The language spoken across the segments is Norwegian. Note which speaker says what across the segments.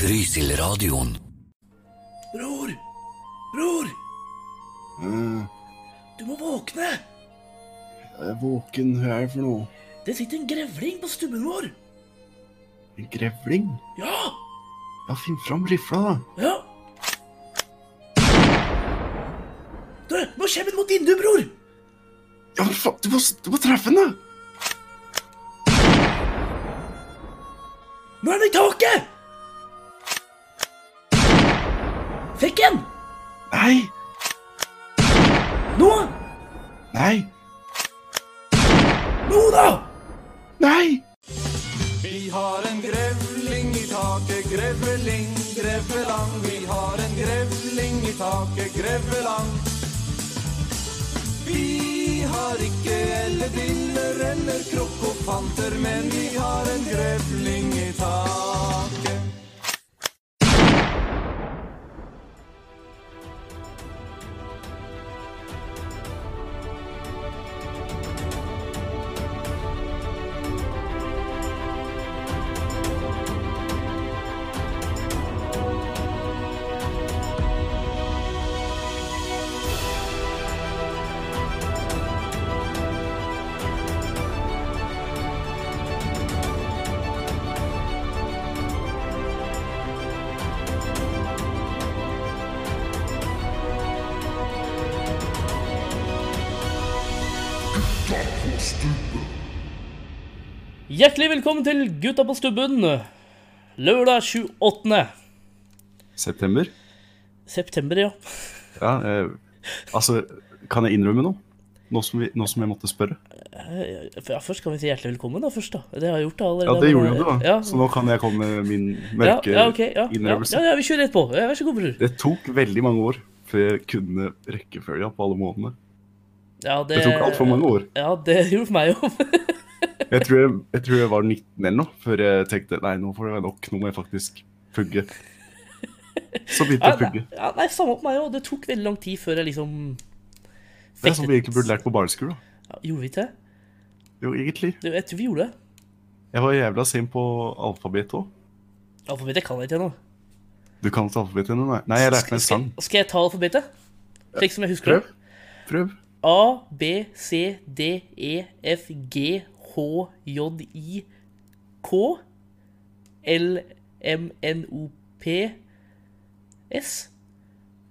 Speaker 1: Rysilradioen.
Speaker 2: Bror! Bror!
Speaker 3: Mm,
Speaker 2: Du må våkne!
Speaker 3: jeg er våken. Hva er det for noe?
Speaker 2: Det sitter en grevling på stubben vår!
Speaker 3: En grevling?
Speaker 2: Ja!
Speaker 3: Ja, finn fram rifla, da.
Speaker 2: Ja! Du, nå kommer den mot vinduet, bror!
Speaker 3: Ja, men faen, du, må- du må treffe den, da!
Speaker 2: Nå er den i taket! Fikk den!
Speaker 3: Nei!
Speaker 2: Nå!
Speaker 3: Nei!
Speaker 2: Nå da!
Speaker 3: Nei!
Speaker 4: Vi har en grevling i taket, grevling, grevelang. Vi har en grevling i taket, grevelang. Vi har ikke ellediller eller krokofanter, men vi har en grevling i taket.
Speaker 5: Hjertelig velkommen til Gutta på stubben, lørdag 28.
Speaker 3: September?
Speaker 5: september, ja.
Speaker 3: Ja, eh, altså Kan jeg innrømme noe? Nå som, vi, nå som jeg måtte spørre?
Speaker 5: ja. Først kan vi si hjertelig velkommen, da, først. da. Det har jeg gjort da
Speaker 3: Ja,
Speaker 5: allerede.
Speaker 3: det gjorde
Speaker 5: men-
Speaker 3: du, da.
Speaker 5: Ja.
Speaker 3: Så nå kan jeg komme med min
Speaker 5: ja,
Speaker 3: mørke
Speaker 5: ja, ok, ja, ja,
Speaker 3: innrømmelse.
Speaker 5: ja, ja, vi kjører rett på. Ja, Vær så god, bror.
Speaker 3: Det tok veldig mange år før jeg kunne rekkefølga på alle månedene.
Speaker 5: Ja,
Speaker 3: Det tok altfor mange år.
Speaker 5: Ja, det gjorde for meg òg.
Speaker 3: Jeg tror jeg, jeg tror jeg var 19 eller noe før jeg tenkte nei, nå får det være nok, nå må jeg faktisk pugge. Så begynte jeg å pugge.
Speaker 5: Ja, nei, samme på meg òg. Det tok veldig lang tid før jeg liksom
Speaker 3: Det er sånn vi egentlig burde lært på barneskolen. da.
Speaker 5: Ja, Gjorde vi ikke det?
Speaker 3: Jo, egentlig.
Speaker 5: Det- Jeg tror vi gjorde det.
Speaker 3: Jeg var jævla sen på alfabetet òg.
Speaker 5: Alfabetet kan jeg ikke ennå.
Speaker 3: Du kan ikke alfabetet ennå, nei? Nei, jeg lærte meg en sang.
Speaker 5: Skal, skal jeg ta alfabetet? Slik som jeg husker det?
Speaker 3: Prøv. Prøv.
Speaker 5: A, B, C, D, E, F, G, H, J, I, K, L, M, N, O, P, S,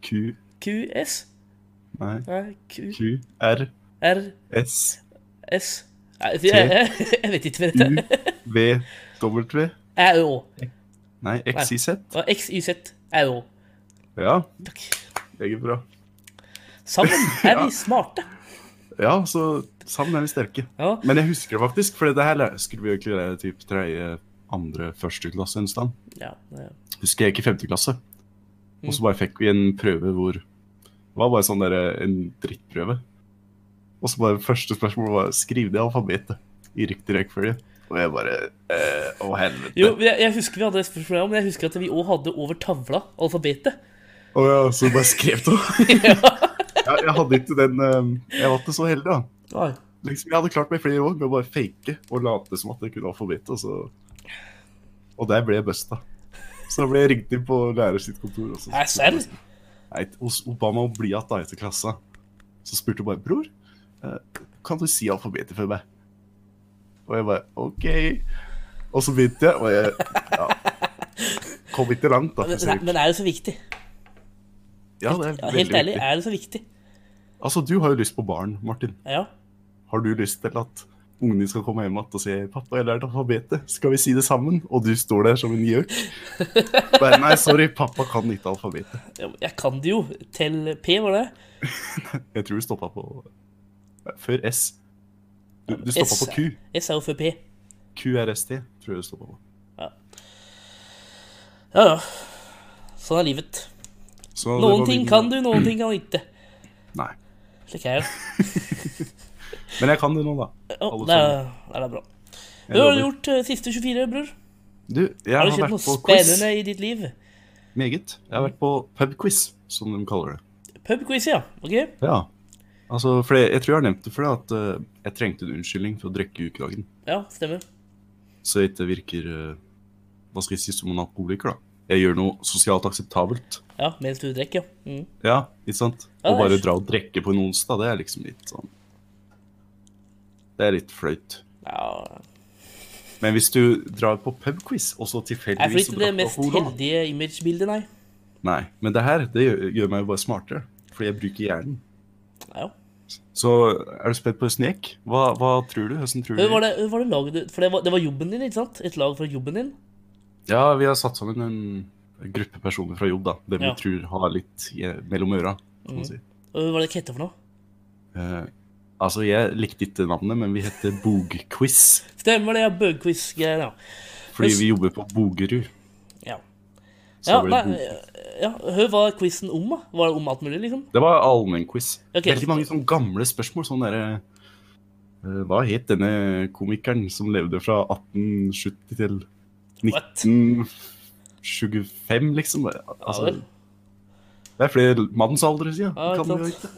Speaker 3: Q,
Speaker 5: Q, S,
Speaker 3: nei,
Speaker 5: nei, Q,
Speaker 3: Q, R,
Speaker 5: R,
Speaker 3: S,
Speaker 5: S, nei, jeg, jeg vet ikke hva
Speaker 3: U,
Speaker 5: dette er.
Speaker 3: V, W,
Speaker 5: Æ, Ø, Å.
Speaker 3: nei, X, Y, Z.
Speaker 5: Og X, Y, Z, Æ, Ø.
Speaker 3: Ja,
Speaker 5: Takk.
Speaker 3: jeg er bra.
Speaker 5: Sammen er vi smarte.
Speaker 3: Ja, så sammen er vi sterke.
Speaker 5: Ja,
Speaker 3: Men jeg husker det faktisk, for det her lær- skulle vi egentlig lære typ tredje, andre, første klasse en stand.
Speaker 5: ja, ja.
Speaker 3: Husker jeg ikke i femte klasse. Og så bare fikk vi en prøve hvor Det var bare sånn der, en drittprøve. Og så bare første spørsmål var skriv ned alfabetet i riktig rekkefølge. Og jeg bare eh, Å, helvete.
Speaker 5: Jo, jeg, jeg husker vi hadde et spørsmål om, men jeg husker at vi også hadde over tavla alfabetet.
Speaker 3: Å ja, så du bare skrev det? ja, jeg hadde ikke den eh, Jeg var ikke så heldig, da.
Speaker 5: Nei.
Speaker 3: Liksom, jeg hadde klart meg i flere år med å bare fake og late som at jeg kunne alfabetet, og så Og der ble jeg busta. Så da ble jeg ringt inn på lærer sitt kontor. Og så,
Speaker 5: Nei, serr?
Speaker 3: Nei, hos Obama og Blyant da, etter klassa. Så spurte hun bare 'Bror, eh, kan du si alfabetet for meg?' Og jeg bare 'OK'. Og så begynte jeg, og jeg ja, kom ikke langt. da. for å si
Speaker 5: Men,
Speaker 3: det.
Speaker 5: men er det så viktig?
Speaker 3: Ja, det
Speaker 5: Ja,
Speaker 3: er
Speaker 5: helt
Speaker 3: veldig
Speaker 5: ærlig,
Speaker 3: viktig.
Speaker 5: er det så viktig?
Speaker 3: Altså, Du har jo lyst på barn, Martin.
Speaker 5: Ja.
Speaker 3: Har du lyst til at ungen din skal komme hjem igjen og si 'Pappa, jeg lærte alfabetet. Skal vi si det sammen?' Og du står der som en gjøk. Bare, Nei, sorry, pappa kan ikke alfabetet.
Speaker 5: Ja, men Jeg kan det jo. Til P, var det?
Speaker 3: Jeg tror du stoppa på Før S. Du, du stoppa på Q.
Speaker 5: S er jo før P.
Speaker 3: QRST, tror jeg det står på.
Speaker 5: Ja, ja. Sånn er livet.
Speaker 3: Så det
Speaker 5: Noen
Speaker 3: var
Speaker 5: ting
Speaker 3: min-
Speaker 5: kan du, noen ting kan du ikke.
Speaker 3: Nei.
Speaker 5: Slik er det.
Speaker 3: Men jeg kan det nå, da.
Speaker 5: Å,
Speaker 3: Alle
Speaker 5: der er- der er det bra.
Speaker 3: Jeg
Speaker 5: Du har
Speaker 3: lover.
Speaker 5: gjort eh, siste 24, bror.
Speaker 3: Du, jeg har,
Speaker 5: Har du kjent
Speaker 3: vært
Speaker 5: noe
Speaker 3: på quiz.
Speaker 5: spennende i ditt liv?
Speaker 3: Meget. Jeg har vært på pubquiz, som de kaller det.
Speaker 5: Pubquiz, ja. Ok?
Speaker 3: Ja. Altså, for jeg, jeg tror jeg har nevnt det for deg, at eh, jeg trengte en unnskyldning for å drikke ukedagen.
Speaker 5: Ja, stemmer.
Speaker 3: Så jeg ikke virker eh, Hva skal jeg si, som en alkoholiker, da. Jeg gjør noe sosialt akseptabelt.
Speaker 5: Ja, mens du drikker, ja. Mm.
Speaker 3: Ja, ikke sant?
Speaker 5: Ja,
Speaker 3: Å bare
Speaker 5: det er-
Speaker 3: dra og drikke på en onsdag, det er liksom litt sånn Det er litt fløyt.
Speaker 5: ja.
Speaker 3: Men hvis du drar på pubquiz, og så
Speaker 5: Jeg får
Speaker 3: tilfeldigvis
Speaker 5: ikke det
Speaker 3: drakk
Speaker 5: mest
Speaker 3: alkohol da-
Speaker 5: heldige imagebildet, nei.
Speaker 3: Nei. Men det her, det gjør, gjør meg jo bare smartere. Fordi jeg bruker hjernen.
Speaker 5: Ja.
Speaker 3: Så er du spent på hvordan det gikk? Hva, hva tror du? Hvordan tror du?
Speaker 5: Hva var det, hva var det laget du For det var, det var jobben din, ikke sant? Et lag fra jobben din?
Speaker 3: Ja, vi har satt sammen en gruppe personer fra jobb, da. Dem
Speaker 5: Ja. Mhm.
Speaker 3: vi tror har litt i- mellom øra, kan man si.
Speaker 5: Og Hva var det det hette for noe?
Speaker 3: Eh, altså, jeg likte ikke navnet, men vi heter Bogquiz.
Speaker 5: Stemmer det, ja. Bøgquiz-greier, ja.
Speaker 3: Fordi
Speaker 5: Hvis-
Speaker 3: vi jobber på Bogerud.
Speaker 5: Ja,
Speaker 3: Så
Speaker 5: ja,
Speaker 3: det
Speaker 5: nei, eh,
Speaker 3: ble Bog-
Speaker 5: ja. Hva var quizen om, da? Var det om alt mulig, liksom?
Speaker 3: Det var allmennquiz.
Speaker 5: Ok.
Speaker 3: Veldig mange sånne gamle spørsmål. Sånn derre eh, Hva het denne komikeren som levde fra 1870 til
Speaker 5: What?
Speaker 3: 1925, liksom?
Speaker 5: Ja,
Speaker 3: Altså,
Speaker 5: vel.
Speaker 3: det er flere mannsaldre siden.
Speaker 5: Ja,
Speaker 3: kan
Speaker 5: Ah, ikke
Speaker 3: vi jo
Speaker 5: sant.
Speaker 3: ikke.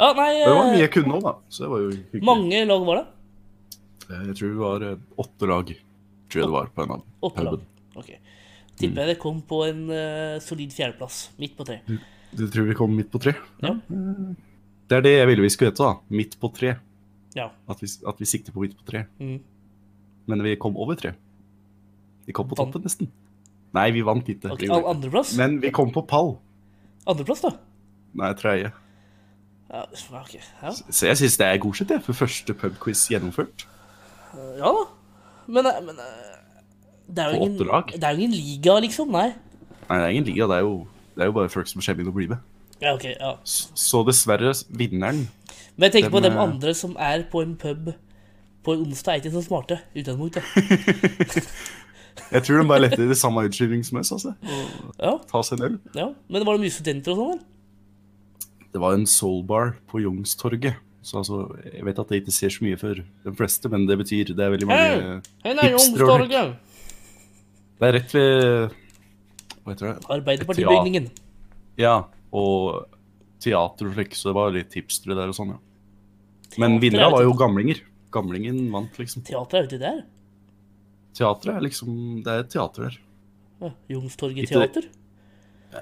Speaker 5: Ja, nei
Speaker 3: Det var mye
Speaker 5: eh,
Speaker 3: jeg kunne òg, da. Så det var jo hyggelig.
Speaker 5: Mange lag var det?
Speaker 3: Eh, Jeg tror det var eh, åtte lag. Tror jeg det var på en av
Speaker 5: Åtte lag.
Speaker 3: puben.
Speaker 5: Ok. Tipper
Speaker 3: Mm.
Speaker 5: jeg det kom på en eh, solid fjerdeplass. Midt på tre.
Speaker 3: Du tror vi kom midt på tre?
Speaker 5: Ja.
Speaker 3: Det er det jeg ville vi skulle hete, da. Midt på tre.
Speaker 5: Ja.
Speaker 3: At vi, at vi sikter på midt på tre.
Speaker 5: Mm.
Speaker 3: Men vi kom over tre. Vi kom på
Speaker 5: Vant.
Speaker 3: toppen, nesten. Nei, vi vant ikke.
Speaker 5: Ok,
Speaker 3: Vi
Speaker 5: all-
Speaker 3: gjorde ikke.
Speaker 5: Andreplass?
Speaker 3: Men vi kom på pall.
Speaker 5: Andreplass, da?
Speaker 3: Nei, tredje.
Speaker 5: Ja, ok. Ja.
Speaker 3: Så jeg syns det er godkjent, jeg, for første pubquiz gjennomført.
Speaker 5: ja da. Men, eh, men eh, det er jo
Speaker 3: På
Speaker 5: ingen,
Speaker 3: åtte lag?
Speaker 5: det er jo ingen liga, liksom. Nei.
Speaker 3: Nei, det er ingen liga, det er jo, det er jo bare folk som kommer inn og blir med.
Speaker 5: Ja, ok, ja.
Speaker 3: S- Så dessverre, s- vinneren
Speaker 5: Men jeg tenker på
Speaker 3: Dem,
Speaker 5: dem
Speaker 3: eh,
Speaker 5: andre som er på en pub på en onsdag, er ikke så smarte. Utgangspunkt, da.
Speaker 3: Jeg tror de bare lette i det samme utskyving som oss, altså.
Speaker 5: Ja,
Speaker 3: Ta seg en øl.
Speaker 5: ja. Men var det mye studenter og sånn? eller?
Speaker 3: Det var en soulbar på Youngstorget. Så altså, jeg vet at det ikke ser så mye for de fleste, men det betyr det er veldig mange
Speaker 5: Hei, nei,
Speaker 3: Hipster og
Speaker 5: Youngstorget.
Speaker 3: Det er rett ved Hva heter det?
Speaker 5: Arbeiderpartibygningen.
Speaker 3: Ja, og teater og slik, så det var litt hipstere der og sånn, ja. Men
Speaker 5: Teater
Speaker 3: vinnere
Speaker 5: er
Speaker 3: var
Speaker 5: jo
Speaker 3: jo gamlinger. Gamlingen vant, liksom.
Speaker 5: Teatret er uti der.
Speaker 3: Teatret er liksom Det er et teater der.
Speaker 5: Ja, Youngstorget
Speaker 3: Ikke det-
Speaker 5: teater.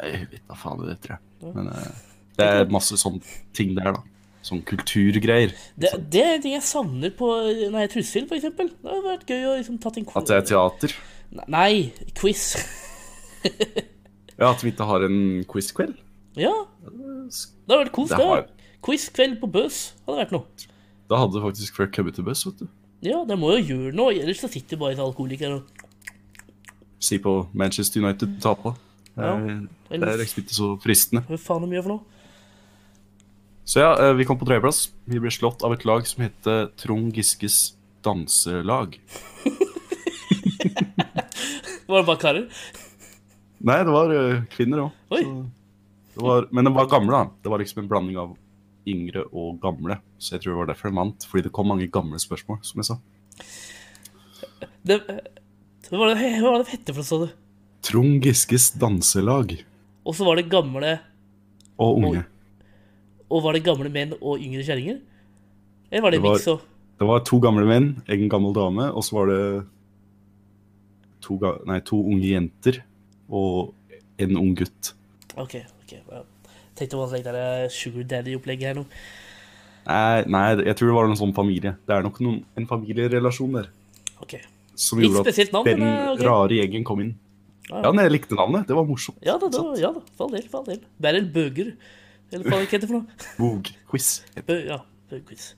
Speaker 3: Jeg vet da faen det heter, jeg. Men eh, det er masse sånne ting der, da. Sånn kulturgreier.
Speaker 5: Det, det er en ting jeg savner på Nei, Trussel, for eksempel. Det hadde vært gøy å liksom tatt en
Speaker 3: At det er teater.
Speaker 5: Nei, quiz.
Speaker 3: Ja, at vi ikke har en quiz-kveld.
Speaker 5: ja, det hadde vært kos,
Speaker 3: Det
Speaker 5: det.
Speaker 3: har-
Speaker 5: Quiz-kveld på Bøs hadde vært noe.
Speaker 3: Da hadde faktisk folk kommet til buss, vet du.
Speaker 5: Ja, de må jo gjøre noe, ellers så sitter du bare som alkoholiker og
Speaker 3: Si på Manchester United taper. Det er- Det er
Speaker 5: Eller
Speaker 3: liksom ikke så fristende.
Speaker 5: hva faen de gjør for noe.
Speaker 3: Så ja, eh, vi kom på tredjeplass. Vi ble slått av et lag som heter Trond Giskes danselag.
Speaker 5: Var det bare karer?
Speaker 3: Nei, det var eh, kvinner òg.
Speaker 5: Oi.
Speaker 3: Men de var gamle, da. Det var liksom en blanding av yngre og gamle. Så jeg tror det var derfor de vant. Fordi det kom mange gamle spørsmål, som jeg sa.
Speaker 5: Det, eh, hva var det, hva var det hette for noe, sa du?
Speaker 3: Trond Giskes danselag
Speaker 5: Og så var det gamle
Speaker 3: og unge.
Speaker 5: Og var det gamle menn og yngre kjerringer? Eller var
Speaker 3: Det
Speaker 5: det, det
Speaker 3: var-
Speaker 5: miks og
Speaker 3: Det var to gamle menn, en gammel dame, og så var det to, ga nei, to unge jenter og en ung gutt.
Speaker 5: OK. ok, ja. Tenkte på hva det der eh, Sugar Daddy-opplegget her nå.
Speaker 3: Nei, nei, jeg tror det var en sånn familie. Det er nok noen, en familierelasjon der.
Speaker 5: Ok.
Speaker 3: Som
Speaker 5: Litt
Speaker 3: gjorde
Speaker 5: spesielt
Speaker 3: at
Speaker 5: navn,
Speaker 3: den
Speaker 5: men, ok.
Speaker 3: rare gjengen kom inn.
Speaker 5: Ja, ja.
Speaker 3: Ja, men jeg likte navnet. Det var morsomt.
Speaker 5: Ja da, da, ja da. For all del, for all del. Beryl Bøger. Eller hva heter det for noe?
Speaker 3: Bogquiz.
Speaker 5: Bø, ja, Bøgerquiz.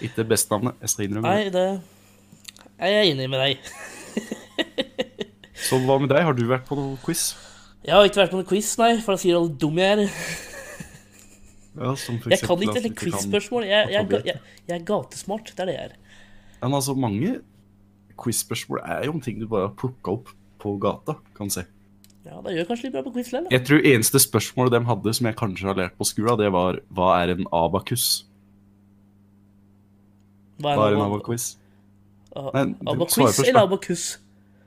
Speaker 3: Ikke best navnet, jeg skal innrømme det.
Speaker 5: Nei, det Jeg er enig med deg.
Speaker 3: Så hva med deg? Har du vært på noen quiz?
Speaker 5: Jeg har ikke vært på noen quiz, nei, for da sier alle hvor dum jeg er.
Speaker 3: Ja, som for
Speaker 5: Jeg
Speaker 3: eksempel
Speaker 5: kan ikke
Speaker 3: at du
Speaker 5: stille quiz-spørsmål. Jeg, jeg, er ga- jeg, jeg er gatesmart. Det er det jeg er.
Speaker 3: Men altså, mange quiz-spørsmål er jo en ting du bare har plukka opp på gata, kan jeg si.
Speaker 5: Ja, da gjør jeg kanskje litt bra på quiz likevel. da.
Speaker 3: Jeg tror eneste spørsmålet de hadde som jeg kanskje har lært på skolen, det var hva er en abakus?
Speaker 5: Hva
Speaker 3: Hva er en
Speaker 5: aba-
Speaker 3: abakus?
Speaker 5: a-
Speaker 3: Nei, du svarer
Speaker 5: Abaquiz
Speaker 3: først,
Speaker 5: eller
Speaker 3: da.
Speaker 5: abakus?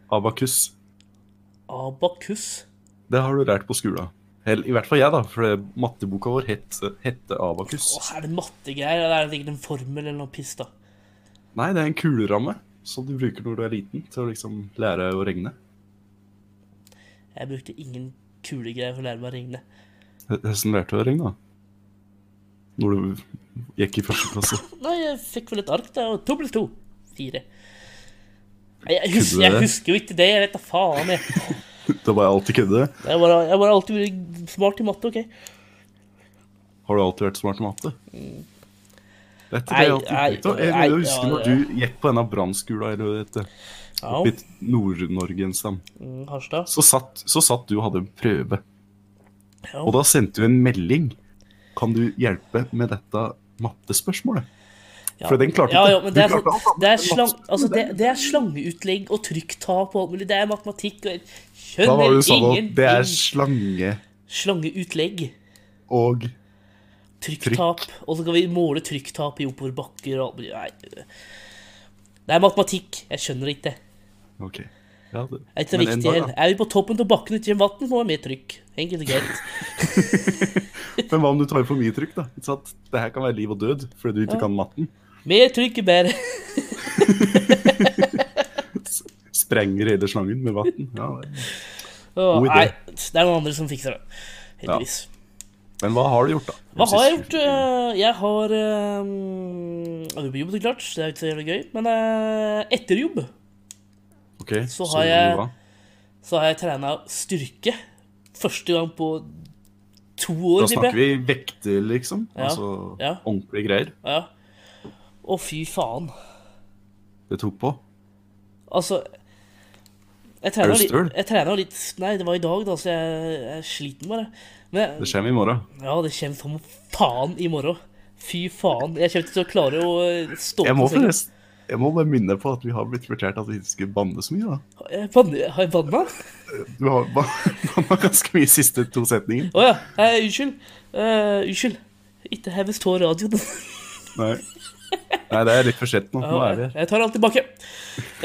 Speaker 3: Abakus.
Speaker 5: Abakus?
Speaker 3: Det har du lært på skolen. Hell, I hvert fall jeg, da, for det- matteboka vår het, hette Abakus.
Speaker 5: Åh, er det mattegreier? Eller er det sikkert en formel eller noe piss, da?
Speaker 3: Nei, det er en kuleramme som du bruker når du er liten, til å liksom lære å regne.
Speaker 5: Jeg brukte ingen kule greier for å lære meg å ringe.
Speaker 3: Hvordan lærte du å ringe, da? Når du gikk i første klasse?
Speaker 5: Nei, jeg fikk vel et ark, da, og to pluss to. Fire. Nei, Jeg husker,
Speaker 3: Kunne du
Speaker 5: jeg
Speaker 3: det?
Speaker 5: husker jo ikke det. Jeg vet da faen, jeg.
Speaker 3: Det var jeg alltid kødde.
Speaker 5: Jeg bare, jeg bare alltid vært smart i matte, OK?
Speaker 3: Har du alltid vært smart i matte? Dette
Speaker 5: Nei,
Speaker 3: er alltid
Speaker 5: Mm. nei,
Speaker 3: tenkt, og jeg,
Speaker 5: nei,
Speaker 3: jeg husker
Speaker 5: ja,
Speaker 3: når du gikk på denne brannskolen eller hva det heter,
Speaker 5: Ja,
Speaker 3: i Nord-Norge en sted,
Speaker 5: mm, Harstad.
Speaker 3: så satt, så satt du og hadde en prøve.
Speaker 5: Ja.
Speaker 3: Og da sendte du en melding. Kan du hjelpe med dette mattespørsmålet?
Speaker 5: Ja.
Speaker 3: For den klarte
Speaker 5: ja,
Speaker 3: ikke.
Speaker 5: ja, men det er,
Speaker 3: Du klarte alt annet
Speaker 5: sånn, det, er
Speaker 3: enn
Speaker 5: slang,
Speaker 3: matte.
Speaker 5: altså det, det er slangeutlegg og trykktap og alt mulig. Det er matematikk og jeg
Speaker 3: Da var
Speaker 5: skjønner
Speaker 3: du sånn at
Speaker 5: ingen
Speaker 3: det er slange
Speaker 5: Slangeutlegg,
Speaker 3: og
Speaker 5: trykktap, og så skal vi måle trykktap i oppoverbakker og alt mulig. Nei. Det er matematikk. Jeg skjønner det ikke.
Speaker 3: OK. Ja, det,
Speaker 5: Det er ikke så
Speaker 3: men en
Speaker 5: viktig
Speaker 3: dag,
Speaker 5: heller. Er vi på toppen av bakken ute i vann, må vi ha mer trykk. Enkelt og greit.
Speaker 3: da. Men hva om du tar for mye trykk, da? Ikke sant? Det her kan være liv og død fordi du ikke kan matten.
Speaker 5: Mer trykk er bedre.
Speaker 3: Sprenger hele slangen med vann. Ja, det.
Speaker 5: Åh,
Speaker 3: God idé.
Speaker 5: Nei, det er noen andre som fikser det. Heldigvis.
Speaker 3: Men hva har du gjort, da?
Speaker 5: Hva har jeg gjort? Eh, Jeg har um, jobbet på jobb, så klart. Det er jo ikke så jævlig gøy. Men eh, etter jobb
Speaker 3: Ok,
Speaker 5: Så har jeg- så har jeg trena styrke. Første gang på to år,
Speaker 3: Da snakker vi vekter, liksom.
Speaker 5: Ja,
Speaker 3: Altså
Speaker 5: ja.
Speaker 3: ordentlige greier.
Speaker 5: Ja. Å, fy faen.
Speaker 3: Det tok på.
Speaker 5: Altså jeg
Speaker 3: Er
Speaker 5: trener,
Speaker 3: du
Speaker 5: litt,
Speaker 3: støl?
Speaker 5: jeg trener litt Nei, det var i dag, da, så jeg, jeg er sliten bare. Men
Speaker 3: Det kommer i morgen.
Speaker 5: ja, det kommer som faen i morgen. Fy faen. Jeg kommer ikke til å klare å eh, stå
Speaker 3: Jeg må
Speaker 5: på senga.
Speaker 3: forresten jeg må bare minne på at vi har blitt fortalt at vi ikke skulle banne så mye. da.
Speaker 5: Jeg banner- Har jeg banna?
Speaker 3: Du har ba- banna ganske mye i siste to setninger.
Speaker 5: Å ja. Nei, unnskyld. Eh, unnskyld. Ikke hev stå radioen.
Speaker 3: Nei. Nei, det er litt for sent nå. Nå er vi her.
Speaker 5: Jeg tar alt tilbake.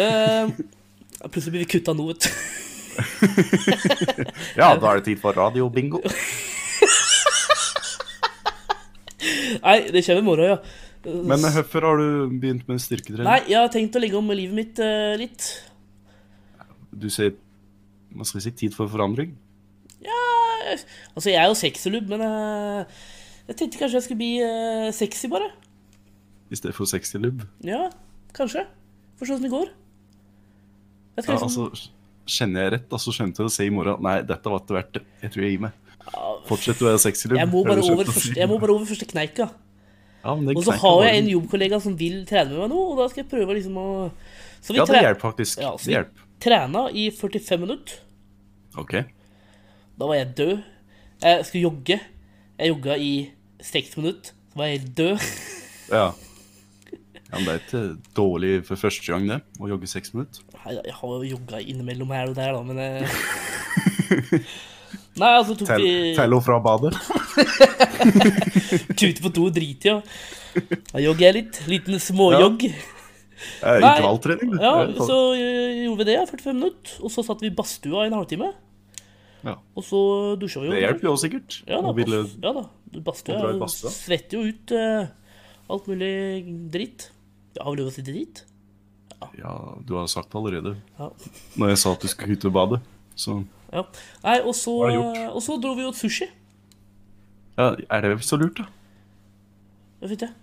Speaker 5: Eh, plutselig blir vi kutta nå, vet du.
Speaker 3: Ja, da er det tid for radiobingo.
Speaker 5: Nei, det kommer i morgen, ja.
Speaker 3: Men hvorfor har du begynt med
Speaker 5: Nei,
Speaker 3: styrketrening?
Speaker 5: jeg har tenkt å legge om livet mitt eh, litt.
Speaker 3: Du sier hva skal jeg si, tid for forandring?
Speaker 5: Eh, Altså, jeg er jo sexylubb, men eh, jeg tenkte kanskje jeg skulle bli eh, sexy, bare.
Speaker 3: I stedet for sexylubb?
Speaker 5: Ja, kanskje. Får se åssen det går. Jeg skal
Speaker 3: Ja,
Speaker 5: liksom,
Speaker 3: altså, kjenner jeg rett, da, så skjønte jeg å si i morgen Nei, dette var ikke verdt det. Jeg tror jeg gir meg. Fortsett å være sexy. Liv.
Speaker 5: jeg, må bare
Speaker 3: Eller slutt
Speaker 5: over
Speaker 3: å
Speaker 5: første,
Speaker 3: si.
Speaker 5: jeg må bare over første kneika.
Speaker 3: Ja, men det
Speaker 5: Og så
Speaker 3: kneiker
Speaker 5: har jeg
Speaker 3: bare.
Speaker 5: en jobbkollega som vil trene med meg nå, og da skal jeg prøve liksom å Så vi
Speaker 3: Ja, det
Speaker 5: tre-
Speaker 3: hjelper faktisk.
Speaker 5: Ja,
Speaker 3: det hjelper.
Speaker 5: trena i 45 minutter.
Speaker 3: OK.
Speaker 5: Da var jeg død. Jeg skulle jogge. Jeg jogga i seks minutter. Så var jeg helt død.
Speaker 3: Ja. ja men det er ikke dårlig for første gang, det. Å jogge seks minutter.
Speaker 5: Nei, Jeg har jo jogga innimellom her og der, da, men eh. Nei, altså tok
Speaker 3: Tell,
Speaker 5: vi
Speaker 3: tell henne fra badet.
Speaker 5: tute på do og drit i, ja. Da jogger jeg litt. Liten småjogg.
Speaker 3: Eh,
Speaker 5: Nei.
Speaker 3: Intervalltrening. du.
Speaker 5: Ja,
Speaker 3: Det er
Speaker 5: så eh, gjorde vi det, ja, 45 minutter. Og så satt vi i badstua i en halvtime.
Speaker 3: Ja.
Speaker 5: Og så dusja vi jo.
Speaker 3: Det hjelper jo sikkert.
Speaker 5: Ja da.
Speaker 3: Å ville-
Speaker 5: bads- ja, da. Du- Badstua
Speaker 3: å dra i
Speaker 5: er jo-
Speaker 3: badstua.
Speaker 5: svetter jo ut eh, alt mulig dritt. Ja, har vi lov å si dritt?
Speaker 3: ja, du har sagt det allerede.
Speaker 5: Ja.
Speaker 3: Når jeg sa at du skulle ut og bade. Så
Speaker 5: ja. Nei, og så, eh,
Speaker 3: Hva har du gjort?
Speaker 5: og så dro vi jo et sushi.
Speaker 3: ja, er det så lurt, da?
Speaker 5: Det fikk jeg.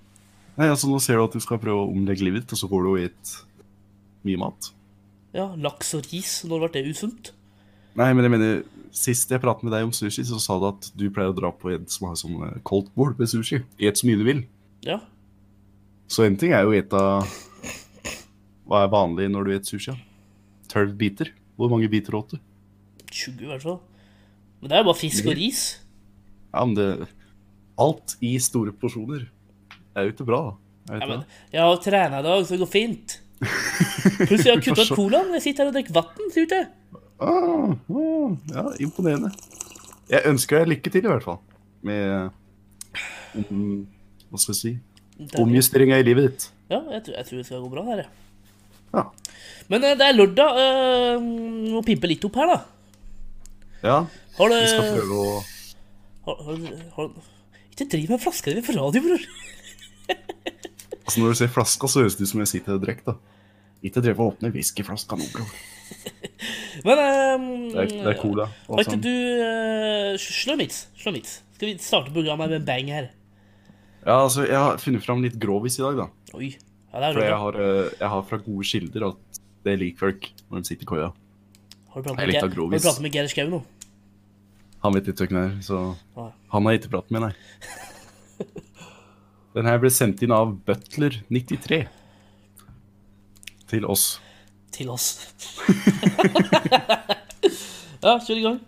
Speaker 3: Nei, altså Nå ser du at du skal prøve å omlegge livet ditt, og så går du og et mye mat.
Speaker 5: Ja, laks og ris. Når ble det usunt?
Speaker 3: Nei, men jeg mener, sist jeg pratet med deg om sushi, så sa du at du pleier å dra på en som har sånn eh, cold bowl med sushi. Et så mye du vil.
Speaker 5: Ja.
Speaker 3: Så en ting er jo å ete Hva er vanlig når du spiser sushi? da? Tolv biter. Hvor mange biter åt du?
Speaker 5: 20 i hvert fall. Men det er jo bare fisk og ris.
Speaker 3: Ja, men det Alt i store porsjoner er jo ikke bra, da. Er det
Speaker 5: Ja, men
Speaker 3: ikke det?
Speaker 5: jeg har trena i dag, så det går fint. Pluss jeg har kutta ut colaen. Jeg sitter her og drikker vann, ser det ut til.
Speaker 3: Ah, ah, ja, imponerende. Jeg ønsker deg lykke til, i hvert fall. Med om, Hva skal jeg si Omjusteringa i livet ditt.
Speaker 5: Ja, jeg tror, jeg tror det skal gå bra der, jeg.
Speaker 3: Ja.
Speaker 5: Men eh, det er lørdag. eh, Må pimpe litt opp her, da.
Speaker 3: ja.
Speaker 5: Har
Speaker 3: Vi skal
Speaker 5: du
Speaker 3: prøve å
Speaker 5: har, har, har, Ikke driv med flaska di på radio, bror.
Speaker 3: Altså Når du ser flaska, så høres det ut som jeg sitter og drikker. da. Ikke drev å åpne whiskyflaska nå, bror.
Speaker 5: Men eh,
Speaker 3: Det er, det er cola. Og
Speaker 5: Var ikke
Speaker 3: sånn.
Speaker 5: du eh, Slå mitt. Slå mitt. Skal vi starte programmet med en bang her?
Speaker 3: Ja, altså, jeg har funnet fram litt grovis i dag, da.
Speaker 5: Oi. Ja, det er
Speaker 3: For jeg
Speaker 5: bra.
Speaker 3: har, eh, jeg har fra gode kilder at det liker folk når de sitter i køya.
Speaker 5: Har du pratet
Speaker 3: jeg
Speaker 5: med,
Speaker 3: likte
Speaker 5: Geir- har du
Speaker 3: Grovis.
Speaker 5: pratet med Geir Skau nå?
Speaker 3: Han vet ikke hvem det er, så
Speaker 5: Nei.
Speaker 3: han har ikke pratet med, nei. Den her ble sendt inn av Butler93 til oss.
Speaker 5: Til oss. ja, kjør i gang.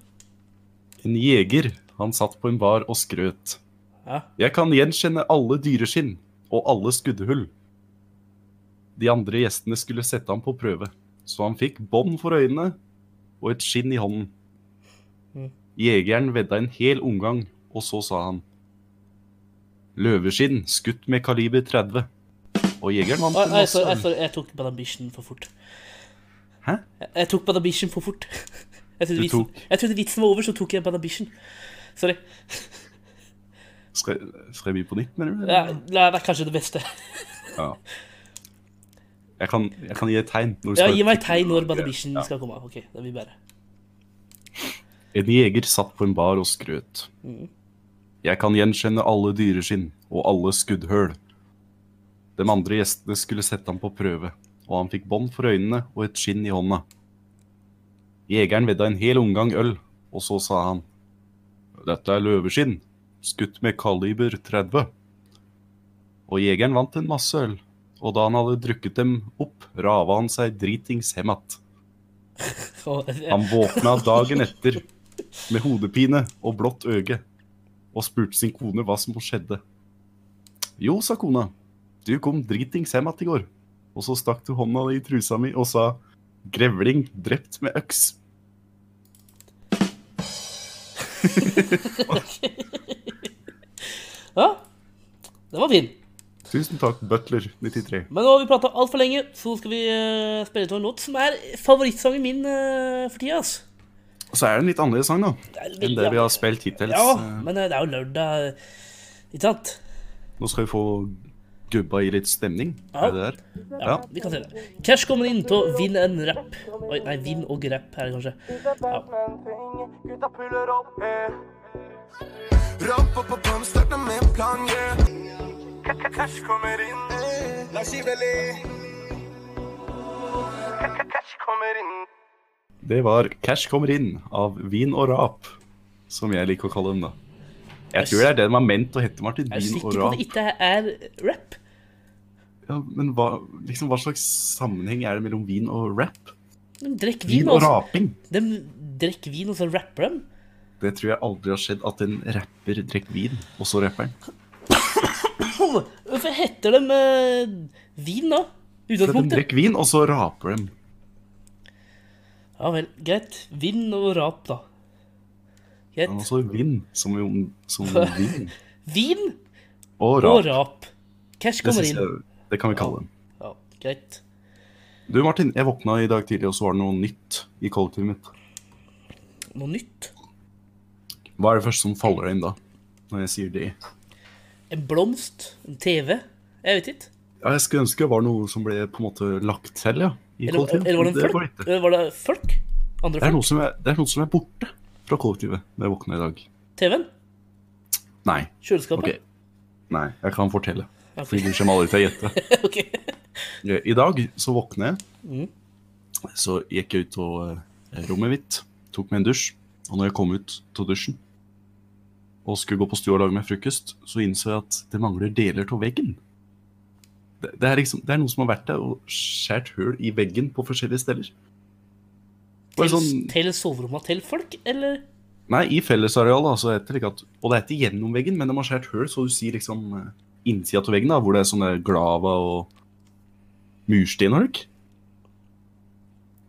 Speaker 3: En jeger, han satt på en bar og skrøt.
Speaker 5: Ja.
Speaker 3: Jeg kan gjenkjenne alle dyreskinn og alle skuddhull. De andre gjestene skulle sette ham på prøve, så han fikk bånd for øynene og et skinn i hånden.
Speaker 5: Mm.
Speaker 3: Jegeren vedda en hel omgang, og så sa han Løveskinn skutt med kaliber 30. Og jegeren vant
Speaker 5: Oi,
Speaker 3: en
Speaker 5: nei, sorry,
Speaker 3: masse.
Speaker 5: jeg, sorry, jeg tok Badabishen for fort.
Speaker 3: Hæ?
Speaker 5: Jeg, jeg tok Badabishen for fort. Jeg trodde,
Speaker 3: Du
Speaker 5: vitsen,
Speaker 3: tok-
Speaker 5: jeg trodde vitsen var over, så tok jeg Badabishen. Sorry.
Speaker 3: Skal, jeg- skal jeg by på nytt, mener du?
Speaker 5: Ja, nei, det er kanskje det beste.
Speaker 3: Ja. Jeg kan, jeg kan gi et tegn. når du
Speaker 5: Ja,
Speaker 3: skal-
Speaker 5: Gi meg et tegn når Badabishen
Speaker 3: Ja.
Speaker 5: skal komme. Ok, det vil bare.
Speaker 3: En jeger satt på en bar og skrøt. Jeg kan gjenkjenne alle dyreskinn og alle skuddhøl. De andre gjestene skulle sette ham på prøve, og han fikk bånd for øynene og et skinn i hånda. Jegeren vedda en hel omgang øl, og så sa han Dette er løveskinn, skutt med kaliber 30. Og jegeren vant en masse øl, og da han hadde drukket dem opp, rava han seg dritings hjem att.
Speaker 5: Og-
Speaker 3: Han våkna dagen etter med hodepine og blått øye og spurte sin kone hva som skjedde. Jo, sa kona, du kom dritings hjem att i går, og så stakk du hånda di i trusa mi og sa grevling drept med øks.
Speaker 5: Ja, den var fin.
Speaker 3: Tusen takk, Butler93.
Speaker 5: Men nå har vi prata altfor lenge, så skal vi eh, spille til en låt som er favorittsangen min eh, for tida. ass.
Speaker 3: Så er det en litt annerledes sang, da,
Speaker 5: Det er litt-
Speaker 3: enn det vi har spilt hittils.
Speaker 5: Ja, men eh, det er jo lørdag, eh, ikke sant?
Speaker 3: Nå skal vi få gubba i litt stemning.
Speaker 5: Ja.
Speaker 3: Er det der? Ja.
Speaker 5: Vi kan se det. Cash kommer inn til å vinne en rap. Oi, nei, vinn og rap her, kanskje.
Speaker 4: Gutta puller opp, eh. Rapp opp og pump, starter med en plan, yeah. K-k-cash kommer inn, eh. Lars Iveli. K-k-cash kommer inn.
Speaker 3: Det var Cash kommer inn av Vin og Rap, som jeg liker å kalle den da. Jeg tror det er det den var ment å hette, Martin.
Speaker 5: Jeg er
Speaker 3: Vin og
Speaker 5: sikker på at
Speaker 3: Rap.
Speaker 5: det ikke er rap.
Speaker 3: Ja, men hva, liksom, hva slags sammenheng er det mellom vin og rap?
Speaker 5: De drikker
Speaker 3: Vin
Speaker 5: vin,
Speaker 3: og
Speaker 5: altså.
Speaker 3: raping?
Speaker 5: De drikker vin, og så rapper de.
Speaker 3: Det tror jeg aldri har skjedd at en rapper drikker vin, og så rapper han.
Speaker 5: Åh, Hvorfor heter de eh, vin, da?
Speaker 3: For at de
Speaker 5: Utgangspunktet?
Speaker 3: drikker vin, og så raper de.
Speaker 5: Ja vel, greit. Vin og rap, da.
Speaker 3: Men
Speaker 5: Greit.
Speaker 3: også vin, som, jo- som vin.
Speaker 5: Vin
Speaker 3: Og
Speaker 5: og
Speaker 3: rap.
Speaker 5: rap. Cash
Speaker 3: Det,
Speaker 5: kommer
Speaker 3: synes
Speaker 5: inn.
Speaker 3: jeg, det kan vi kalle dem.
Speaker 5: Ja, greit.
Speaker 3: Du Martin, jeg våkna i dag tidlig, og så var det noe nytt i kollektivet mitt.
Speaker 5: Noe nytt?
Speaker 3: Hva er det første som faller deg inn da, når jeg sier det?
Speaker 5: En blomst? En TV? Jeg vet ikke.
Speaker 3: Ja, jeg skulle ønske det var noe som ble på en måte lagt til, ja. I
Speaker 5: Eller,
Speaker 3: kollektivet.
Speaker 5: eller var det
Speaker 3: det,
Speaker 5: en
Speaker 3: var det
Speaker 5: folk?
Speaker 3: ikke.
Speaker 5: Eller var det folk? Andre
Speaker 3: det, er
Speaker 5: folk?
Speaker 3: noe som er, det er noe som er borte fra kollektivet når jeg våkner i dag.
Speaker 5: TV-en?
Speaker 3: Nei.
Speaker 5: Kjøleskapet?
Speaker 3: Ok. Nei, jeg kan fortelle.
Speaker 5: Ok.
Speaker 3: Fordi du kommer aldri til å gjette.
Speaker 5: Ok.
Speaker 3: Eh, I dag så våkner jeg. Så gikk jeg ut av eh, rommet mitt, tok meg en dusj. Og når jeg kom ut av dusjen og skulle gå på stua og lage meg frokost, så innså jeg at det mangler deler av veggen. Det, det, er liksom, det er noen som har vært der og skjært hull i veggen på forskjellige steder. Bare
Speaker 5: Til,
Speaker 3: sånn-
Speaker 5: til soverommet til folk, eller?
Speaker 3: Nei, i fellesarealet, altså, heter det ikke at, og det er ikke gjennom veggen, men de har skjært høl, så du sier liksom eh, innsida til veggen, da, hvor det er sånne glava og murstein og høk.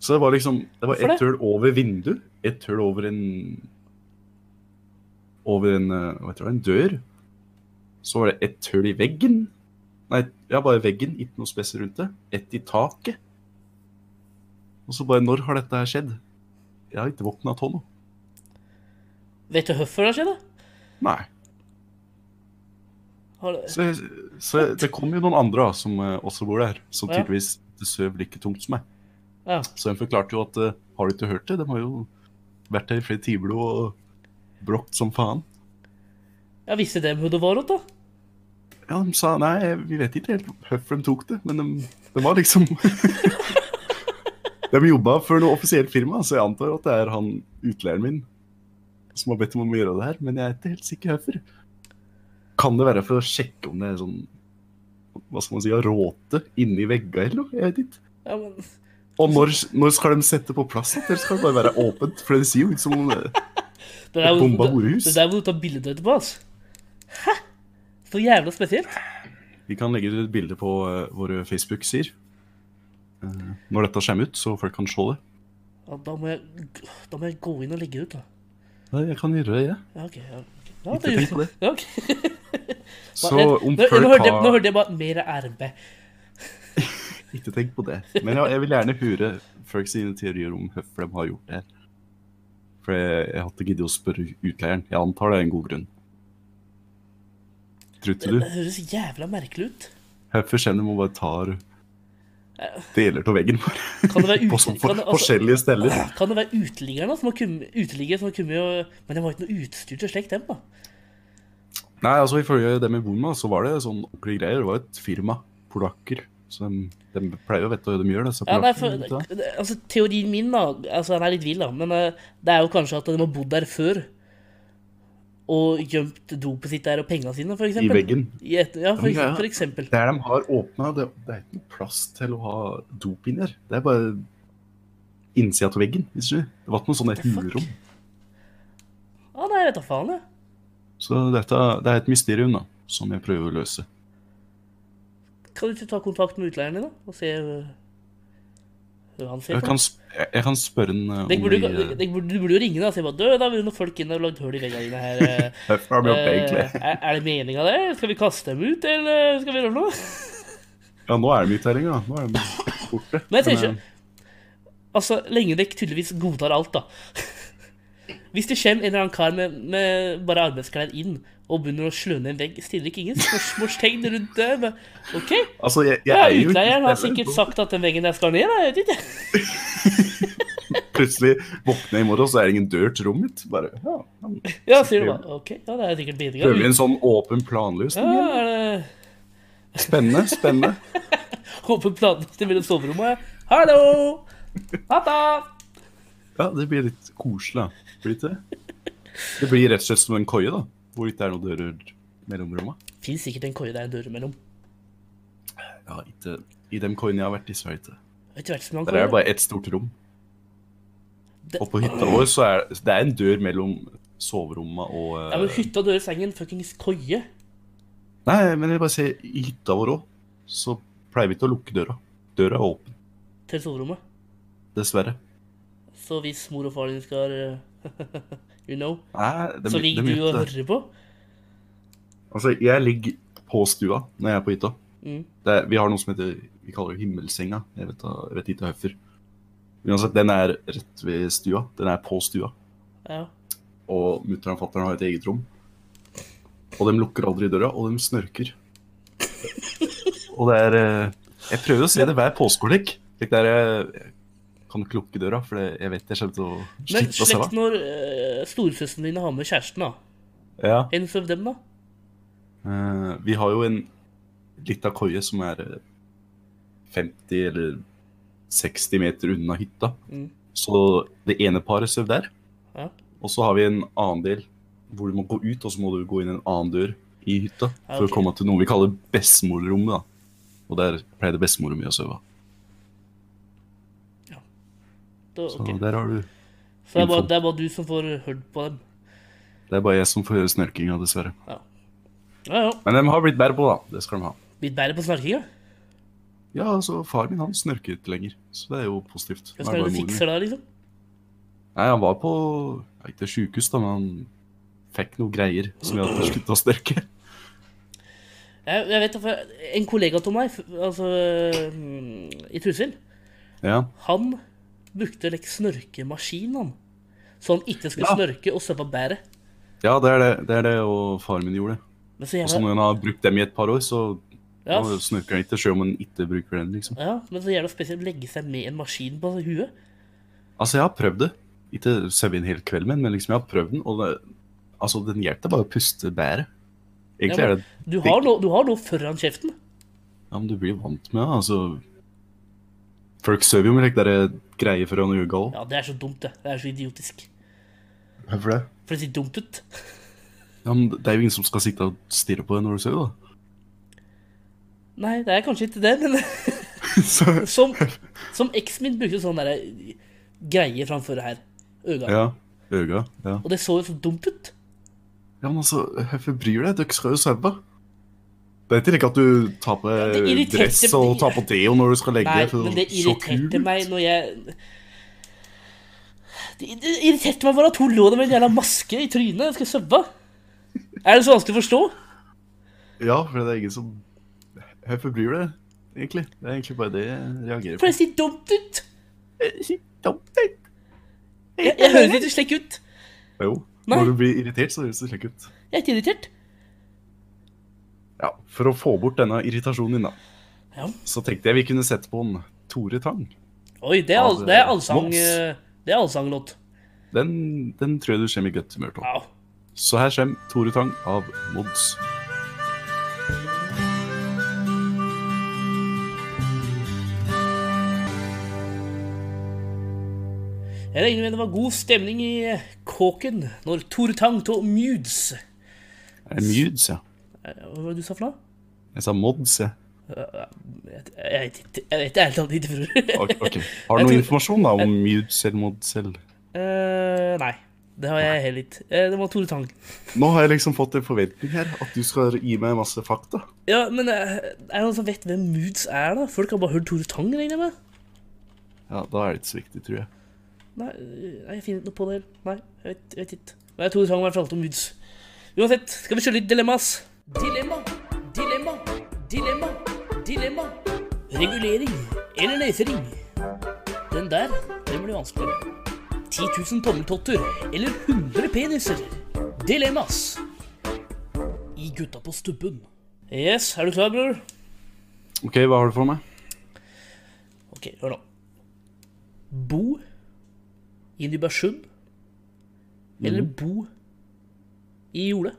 Speaker 3: Så det var liksom, det var
Speaker 5: Hvorfor
Speaker 3: et høl over vindu, et høl over en, over en, eh, hva heter det, en dør. Så var det et høl i veggen. Nei, ja, bare veggen, ikke noe spesielt rundt det. Et i taket. Og så bare, når har dette her skjedd? Jeg har ikke våknet av nå.
Speaker 5: Vet du hvorfor det har skjedd, da?
Speaker 3: Nei.
Speaker 5: Har det-
Speaker 3: Så, så det kom jo noen andre da, som eh, også bor der, som
Speaker 5: Ja.
Speaker 3: tydeligvis ikke søv like tungt som meg.
Speaker 5: Ja.
Speaker 3: Så hun forklarte jo at eh, har du ikke hørt det? De har jo vært her i flere timer nå og bråkt som faen.
Speaker 5: Jeg visste dem hvor det var, da.
Speaker 3: Ja, de sa nei, vi vet ikke helt hvorfor de tok det, men de, de var liksom De jobba for noe offisielt firma, så jeg antar at det er han utleieren min som har bedt om å gjøre det her, men jeg er ikke helt sikker hvorfor. Kan det være for å sjekke om det er sånn Hva skal man si, råte inni veggene eller noe? Jeg vet ikke.
Speaker 5: Ja, men...
Speaker 3: Og når, når skal de sette på plass igjen? Eller skal det bare være åpent? For det ser jo ut som om det-
Speaker 5: Det der,
Speaker 3: Et bomba
Speaker 5: det-
Speaker 3: horehus.
Speaker 5: Det der må du ta bilde av etterpå, altså. Hæ? Så jævla spesielt.
Speaker 3: Vi kan legge ut et bilde på eh, våre Facebook-sider. Eh, når dette kommer ut, så folk kan se det.
Speaker 5: Ja, da, må jeg, da må jeg gå inn og legge det ut, da.
Speaker 3: Nei, jeg kan gjøre det, jeg.
Speaker 5: Ja, ok. Ja, ok. ja,
Speaker 3: Ikke tenk på det.
Speaker 5: Ja, ok.
Speaker 3: Så
Speaker 5: Nå-
Speaker 3: om
Speaker 5: nå, nå,
Speaker 3: folk
Speaker 5: hørte jeg, nå
Speaker 3: har
Speaker 5: hørte jeg bare mer arbeid.
Speaker 3: Ikke tenk på det. Men ja, jeg vil gjerne høre folk sine teorier om hvorfor de har gjort det her. For jeg, jeg hadde ikke giddet å spørre utleieren. Jeg antar det er en god grunn. Tror ikke
Speaker 5: Det
Speaker 3: du?
Speaker 5: høres jævla merkelig ut.
Speaker 3: Hvorfor kommer de og bare tar deler av veggen vår?
Speaker 5: Kan det være,
Speaker 3: På,
Speaker 5: ut,
Speaker 3: sånn
Speaker 5: kan
Speaker 3: for,
Speaker 5: det, altså,
Speaker 3: forskjellige steder?
Speaker 5: kan det være uteliggeren da, som har kommet uteligger som har kommet og Men det var ikke noe utstyr til slikt, dem, da.
Speaker 3: Nei, altså ifølge dem jeg bor med, så var det sånn ordentlige greier. Det var et firma, polakker. Så de, de pleier jo å vite hva de gjør, disse
Speaker 5: Ja, nei, for,
Speaker 3: polakkene, vet du hva?
Speaker 5: det- altså, teorien min, da altså, Den er litt vill, da. Men eh, det er jo kanskje at de har bodd der før. Og gjemt dopet sitt der og penga sine, for
Speaker 3: I
Speaker 5: eksempel.
Speaker 3: veggen.
Speaker 5: I et, ja, for,
Speaker 3: Ja, ja.
Speaker 5: for eksempel.
Speaker 3: Der de har åpna, det, det er ikke noe plass til å ha dop inn der. Det er bare innsida av veggen. hvis du skjønner. Det var ikke noe sånn et
Speaker 5: The fuck?
Speaker 3: hulrom.
Speaker 5: Ja, nei, jeg vet da faen, jeg.
Speaker 3: Så dette det er et mysterium da, som jeg prøver å løse.
Speaker 5: Kan du ikke ta kontakt med utleieren din, da? Og se øh, hva han ser
Speaker 3: Jeg
Speaker 5: på?
Speaker 3: kan, sp- jeg, jeg kan spørre han eh,
Speaker 5: Dere
Speaker 3: om
Speaker 5: burde,
Speaker 3: vi eh,
Speaker 5: dere burde, du burde jo ringe da, og si bare, «Du, det har vært noen folk inne og lagd hull i veggene dine her. eh,
Speaker 3: Hvorfor har vi gjort det,
Speaker 5: eh,
Speaker 3: egentlig?
Speaker 5: er, er det meninga det? Skal vi kaste dem ut, eller skal vi gjøre noe?
Speaker 3: Ja, nå er de ute her lenger, da. Nå er de borte.
Speaker 5: Men jeg tenker
Speaker 3: Men, eh,
Speaker 5: ikke Altså, lenge dere tydeligvis godtar alt, da. Hvis det kommer en eller annen kar med, med bare arbeidsklær inn og begynner å slå ned en vegg, stiller ikke ingen spørsmålstegn rundt det. Men, OK,
Speaker 3: Altså, jeg, jeg
Speaker 5: ja,
Speaker 3: er jo ikke
Speaker 5: utleieren har
Speaker 3: utleier,
Speaker 5: sikkert
Speaker 3: så
Speaker 5: sagt at den veggen der skal ned, da. Jeg vet ikke.
Speaker 3: Plutselig våkner jeg i morgen, så er det ingen dør til rommet mitt. Bare, ja, men
Speaker 5: Ja, sier du bare. Ok, ja, det er sikkert meninga.
Speaker 3: Prøver vi en sånn åpen planløsning?
Speaker 5: Ja, er det
Speaker 3: Spennende, spennende.
Speaker 5: Håper planløsning mellom soverommet. Hallo! Hatta!
Speaker 3: Ja, det blir litt koselig, da. Blir det ikke det? Det blir rett og slett som en køye, da. Hvor det ikke er noen dører mellom romma.
Speaker 5: Fins sikkert en køye der en dør imellom.
Speaker 3: Ja, ikke i de køyene jeg har vært i, så er det ikke det.
Speaker 5: Etter hvert som han
Speaker 3: Der er det
Speaker 5: kommer.
Speaker 3: bare ett stort rom.
Speaker 5: Det-
Speaker 3: Og på hytta vår så er det- det er en dør mellom soveromma og eh,
Speaker 5: Ja, men hytta dør i sengen, fuckings køye.
Speaker 3: Nei, men jeg vil bare si, i hytta vår òg, så pleier vi ikke å lukke døra. Døra er åpen,
Speaker 5: til soverommet.
Speaker 3: dessverre.
Speaker 5: Så hvis mor og far din skal eh, You know.
Speaker 3: Nei, de,
Speaker 5: Så ligger
Speaker 3: de
Speaker 5: du og
Speaker 3: gjør ikke det.
Speaker 5: hører på.
Speaker 3: Altså, jeg ligger på stua når jeg er på hytta.
Speaker 5: Mm.
Speaker 3: Det er, vi har noe som heter Vi kaller det himmelsenga. Jeg vet, da- jeg vet ikke hvorfor. Uansett, den er rett ved stua. Den er på stua.
Speaker 5: Ja.
Speaker 3: Og mutter'n og fatter'n har et eget rom. Og de lukker aldri døra, og de snørker. Og det er eh, Jeg prøver å se det hver påskeolek. Det der eh, jeg kan ikke lukke døra, for det- jeg vet jeg kommer til å
Speaker 5: Men
Speaker 3: slippe å se
Speaker 5: slekt
Speaker 3: henne.
Speaker 5: når uh, storesøsteren din har med kjæresten, da.
Speaker 3: Ja.
Speaker 5: En av dem, da.
Speaker 3: Eh, vi har jo en lita koie som er eh, 50 eller 60 meter unna hytta.
Speaker 5: Mm.
Speaker 3: Så det ene paret sover der.
Speaker 5: Ja.
Speaker 3: Og så har vi en annen del hvor du må gå ut, og så må du gå inn en annen dør i hytta
Speaker 5: Ja,
Speaker 3: for å
Speaker 5: ok.
Speaker 3: komme til noe vi kaller bestemorrommet. da. Og der pleide bestemora mi å sove.
Speaker 5: Da,
Speaker 3: Så
Speaker 5: ok.
Speaker 3: der har du
Speaker 5: Så det er, bare,
Speaker 3: info.
Speaker 5: det er bare du som får hørt på dem.
Speaker 3: Det er bare jeg som får høre snorkinga, dessverre.
Speaker 5: Ja, ja.
Speaker 3: Men de har blitt bedre på, da. Det skal de ha.
Speaker 5: Blitt bedre på snarkinga.
Speaker 3: Ja, altså, far min han snorker ikke lenger, så det er jo positivt. Nå
Speaker 5: Hvordan
Speaker 3: er
Speaker 5: er
Speaker 3: det bare
Speaker 5: det du
Speaker 3: moren min.
Speaker 5: fikser da, liksom?
Speaker 3: Nei, han var på ja, ikke sjukehus, da, men han fikk noe greier som gjorde at han slutta å størke.
Speaker 5: Jeg, jeg vet da, for En kollega av meg, f- altså mm, i Trysil,
Speaker 3: Ja.
Speaker 5: han brukte like, snørkemaskin, han. Så han ikke skulle
Speaker 3: Ja.
Speaker 5: snørke og søpe bæret.
Speaker 3: ja, det er det, det er det og faren min gjorde.
Speaker 5: Men så
Speaker 3: Og så
Speaker 5: jævla,
Speaker 3: når han har brukt dem i et par år, så
Speaker 5: ja,
Speaker 3: ja, snurker han ikke, selv om han ikke bruker den, liksom.
Speaker 5: Ja, men så jævla spesielt legge seg med en maskin på huet.
Speaker 3: Altså, jeg har prøvd det. ikke søvet en hel kveld, men, men liksom jeg har prøvd den, og det, altså, den hjelper deg bare å puste bedre. Egentlig
Speaker 5: Ja,
Speaker 3: er
Speaker 5: men
Speaker 3: det
Speaker 5: Du har, noe, du har noe foran kjeften.
Speaker 3: Ja, men du blir vant med det, altså. Folk søver jo med like der eh, greier for å nå ugal.
Speaker 5: Ja, det er så dumt, det. Det er så idiotisk.
Speaker 3: Hvorfor det?
Speaker 5: For det ser dumt ut.
Speaker 3: Ja, men det er jo ingen som skal sitte og stirre på deg når du søver, da.
Speaker 5: Nei, det er kanskje ikke det, men
Speaker 3: Så,
Speaker 5: som, som eksen min brukte sånn derre greie framfor her. Øga.
Speaker 3: ja. Øga, ja.
Speaker 5: Og det så jo så dumt ut.
Speaker 3: Ja, men altså, hvorfor bryr du deg? Dere skal jo sove. Det er ikke like at du tar på
Speaker 5: det irriterte-
Speaker 3: dress og tar på deo når du skal legge
Speaker 5: Nei,
Speaker 3: deg. for å
Speaker 5: men det
Speaker 3: se kul
Speaker 5: irriterte
Speaker 3: ut.
Speaker 5: meg når jeg Det det irriterte meg bare at hun lå der med en jævla maske i trynet. Jeg skal søvne. Er det så vanskelig å forstå?
Speaker 3: Ja, for det er ingen som Hvorfor bryr du deg, egentlig? Det er egentlig bare det jeg reagerer på.
Speaker 5: For det ser dumt ut.
Speaker 3: Jo,
Speaker 5: Jeg, jeg høres ikke slik ut. Nei.
Speaker 3: når du blir irritert, så høres det slik ut.
Speaker 5: Jeg er ikke irritert.
Speaker 3: Ja, For å få bort denne irritasjonen din, da,
Speaker 5: Ja.
Speaker 3: så tenkte jeg vi kunne sette på en Tore Tang.
Speaker 5: Oi, det er, al- altså, det er allsang...
Speaker 3: Mops.
Speaker 5: eh, Det er allsanglåt.
Speaker 3: Den, den tror jeg du kommer i godt humør av.
Speaker 5: Au.
Speaker 3: Så her kommer Tore Tang av Mods.
Speaker 5: Jeg regner med det var god stemning i kåken når Tore Tang og Mudes Eh,
Speaker 3: Er det Mudes, ja?
Speaker 5: Hva var det du sa for noe?
Speaker 3: Jeg sa Mods, jeg.
Speaker 5: Jeg jeg vet ikke. Jeg vet ærlig talt ikke, bror.
Speaker 3: Ok, ok. Har du noe
Speaker 5: Jeg tror-
Speaker 3: informasjon da om Mudesel Modsel?
Speaker 5: Eh, nei. Det har jeg heller ikke. Eh, det var Tore Tang.
Speaker 3: Nå har jeg liksom fått en forventning her, at du skal gi meg masse fakta.
Speaker 5: Ja, men eh, er det noen som vet hvem Moods er, da? Folk har bare hørt Tore Tang, regner jeg med?
Speaker 3: Ja, da er det ikke så viktig, tror jeg.
Speaker 5: Nei, eh, nei, jeg finner ikke noe på det. Nei, jeg vet, jeg vet ikke. Nei, Tore Tang har fortalt om Moods. Uansett, skal vi kjøre litt dilemmas? Dilemma, dilemma, dilemma, dilemma. Regulering eller løsering? Den der, den blir vanskeligere. 10 000 tommeltotter eller 100 peniser? Dilemmas. I gutta på stubben. Yes, er du klar, bror?
Speaker 3: Ok, hva har du for meg?
Speaker 5: Ok, hør nå. Bo i Nybergsund eller
Speaker 3: Mm.
Speaker 5: bo i Jole?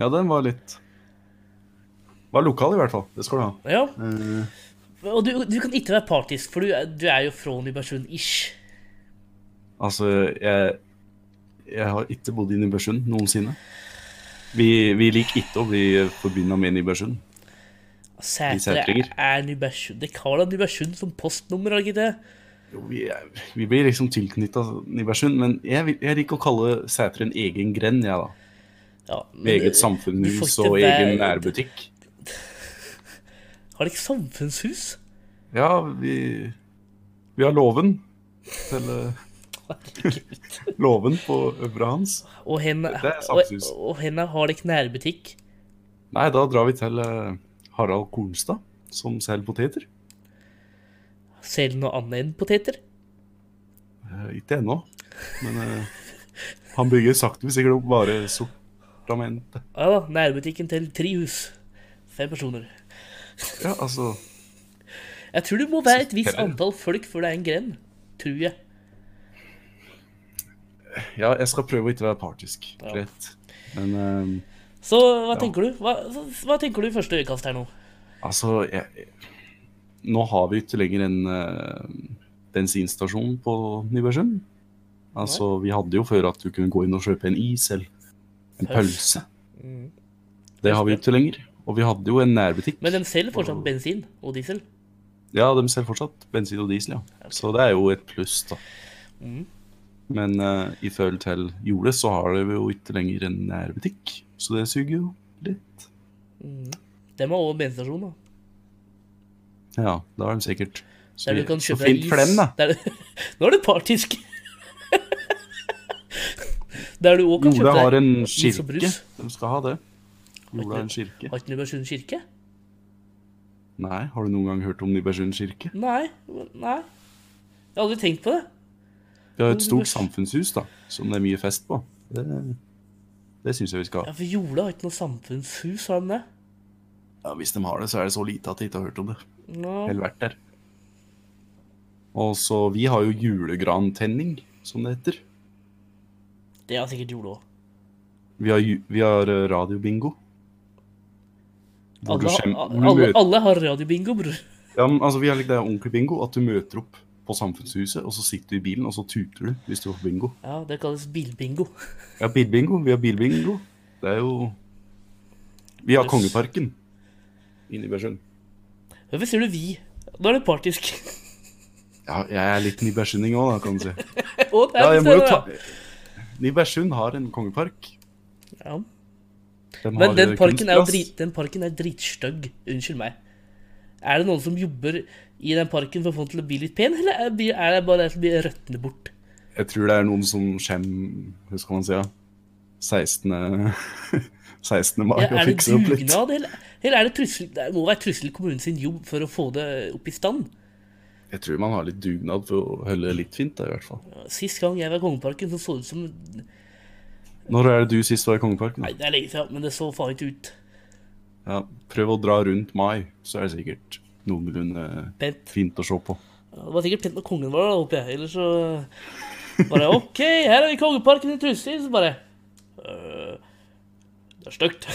Speaker 3: Ja, den var litt... Var lokal i hvert fall, det skal du ha.
Speaker 5: Ja.
Speaker 3: Mm.
Speaker 5: Og du, du kan ikke være partisk, for du, er- du er jo fra Nybergsund-ish.
Speaker 3: Altså, jeg, jeg har ikke bodd i Nybergsund noensinne. Vi, vi liker ikke å bli forbundet med Nybergsund.
Speaker 5: Sætre
Speaker 3: Sætringer.
Speaker 5: er- er Nybergsund. Det kaller Nybergsund som postnummer, har det ikke det?
Speaker 3: Jo, vi, er, vi blir liksom tilknyttet av Nybergsund, men jeg, vil- jeg liker å kalle Sæter en egen grenn, jeg da.
Speaker 5: Ja, men eh,
Speaker 3: Med
Speaker 5: det-
Speaker 3: eget
Speaker 5: du får
Speaker 3: samfunnshus
Speaker 5: ikke
Speaker 3: og egen
Speaker 5: være-
Speaker 3: nærbutikk.
Speaker 5: Har det ikke samfunnshus?
Speaker 3: Ja, vi, vi har låven. Til eh, Låven på øvre hans.
Speaker 5: Og hen,
Speaker 3: Det er
Speaker 5: og,
Speaker 3: samfunnshus.
Speaker 5: og henne har det ikke nærbutikk.
Speaker 3: Nei, da drar vi til eh, Harald Kornstad, som selger poteter.
Speaker 5: Selger noe annet enn poteter?
Speaker 3: Eh, ikke ennå, men eh, han bygger sakte, men sikkert opp bare sortamentet.
Speaker 5: Ja da, nærbutikken til tre hus. Fem personer.
Speaker 3: Ja, altså
Speaker 5: Jeg tror det må være et visst
Speaker 3: Eller-
Speaker 5: antall folk før det er en gren. Tror jeg.
Speaker 3: Ja, jeg skal prøve å ikke være partisk. Greit. Men eh,
Speaker 5: Så hva tenker du? Hva, hva tenker du i første øyekast her nå?
Speaker 3: Altså, jeg, jeg- nå har vi ikke lenger en eh, bensinstasjon på Nybergsund. Altså, vi hadde jo før at du kunne gå inn og kjøpe en is eller en pølse.
Speaker 5: Pølse. Mm.
Speaker 3: Det har vi ikke lenger. Og vi hadde jo en nærbutikk.
Speaker 5: Men de selger fortsatt bensin og diesel.
Speaker 3: Ja, de selger fortsatt bensin og diesel, ja. Så det er jo et pluss, da.
Speaker 5: Mm.
Speaker 3: Men eh, i følge til jordet så har vi jo ikke lenger en nærbutikk, så det suger jo litt.
Speaker 5: De har også bensinstasjon, da.
Speaker 3: Ja, da er de sikkert Så,
Speaker 5: Der
Speaker 3: vi-
Speaker 5: du kan
Speaker 3: så
Speaker 5: kjøpe deg
Speaker 3: fint
Speaker 5: is.
Speaker 3: for dem, da.
Speaker 5: Der, nå er du partisk. Der du òg kan
Speaker 3: Jorda
Speaker 5: kjøpe
Speaker 3: har en
Speaker 5: is
Speaker 3: kirke.
Speaker 5: og brus.
Speaker 3: De skal ha det. Jorda har en kirke.
Speaker 5: Har ikke Nybergsund kirke?
Speaker 3: Nei, har du noen gang hørt om Nybergsund kirke?
Speaker 5: Nei. nei. Jeg har aldri tenkt på det.
Speaker 3: Vi har et stort samfunnshus da, som det er mye fest på. Det, det syns jeg vi skal
Speaker 5: Ja,
Speaker 3: ha.
Speaker 5: For Jola har ikke noe samfunnshus, har de det?
Speaker 3: Ja, Hvis de har det, så er det så lite at jeg ikke har hørt om det.
Speaker 5: Nå.
Speaker 3: Eller vært der. Og så vi har jo julegrantenning, som det heter.
Speaker 5: Det har sikkert Jolo òg.
Speaker 3: Vi har, ju- vi har eh, radiobingo. Hvor du
Speaker 5: Alle,
Speaker 3: skjem- hvor du
Speaker 5: alle,
Speaker 3: møter-
Speaker 5: alle har radiobingo, bror.
Speaker 3: Ja, men altså, vi har litt det onkelbingo, at du møter opp på samfunnshuset, og så sitter du i bilen, og så tuter du hvis du får bingo.
Speaker 5: Ja, det kalles bilbingo.
Speaker 3: Ja, bilbingo. Vi har bilbingo. Det er jo Vi har Kongeparken inne i Bersund.
Speaker 5: Hvorfor sier du vi? Nå er det partisk.
Speaker 3: Ja, jeg er litt nybergsunding òg, da, kan du si.
Speaker 5: Å, det
Speaker 3: Ja,
Speaker 5: er
Speaker 3: jeg må jo
Speaker 5: det,
Speaker 3: ta...
Speaker 5: da.
Speaker 3: Nybergsund har en kongepark.
Speaker 5: ja.
Speaker 3: De har,
Speaker 5: Men den
Speaker 3: eh,
Speaker 5: parken, er jo
Speaker 3: kunstgress.
Speaker 5: drit, den parken er dritstygg. Unnskyld meg. Er det noen som jobber i den parken for å få den til å bli litt pen, eller er- er det bare den som blir røttende bort?
Speaker 3: Jeg tror det er noen som skjem... Hva skal man si, ja? 16. 16. mai og
Speaker 5: Ja, er det
Speaker 3: fikse opp litt.
Speaker 5: dugnad, eller, eller er det trussel Det må være trussel kommunen sin jobb for å få det opp i stand.
Speaker 3: Jeg tror man har litt dugnad for å holde det litt fint, da, i hvert fall.
Speaker 5: Sist gang jeg var i Kongeparken, så så det ut som Nei,
Speaker 3: Når er det du sist var i Kongeparken?
Speaker 5: det er lenge siden, men det så faen ikke ut.
Speaker 3: Ja, prøv å dra rundt mai, så er det sikkert noenlunde
Speaker 5: Pent.
Speaker 3: fint å se på.
Speaker 5: Det var sikkert pent når kongen var der, håper jeg. Ellers så bare OK, her er vi i Kongeparken i Trussel, så bare «Øh, Det er stygt.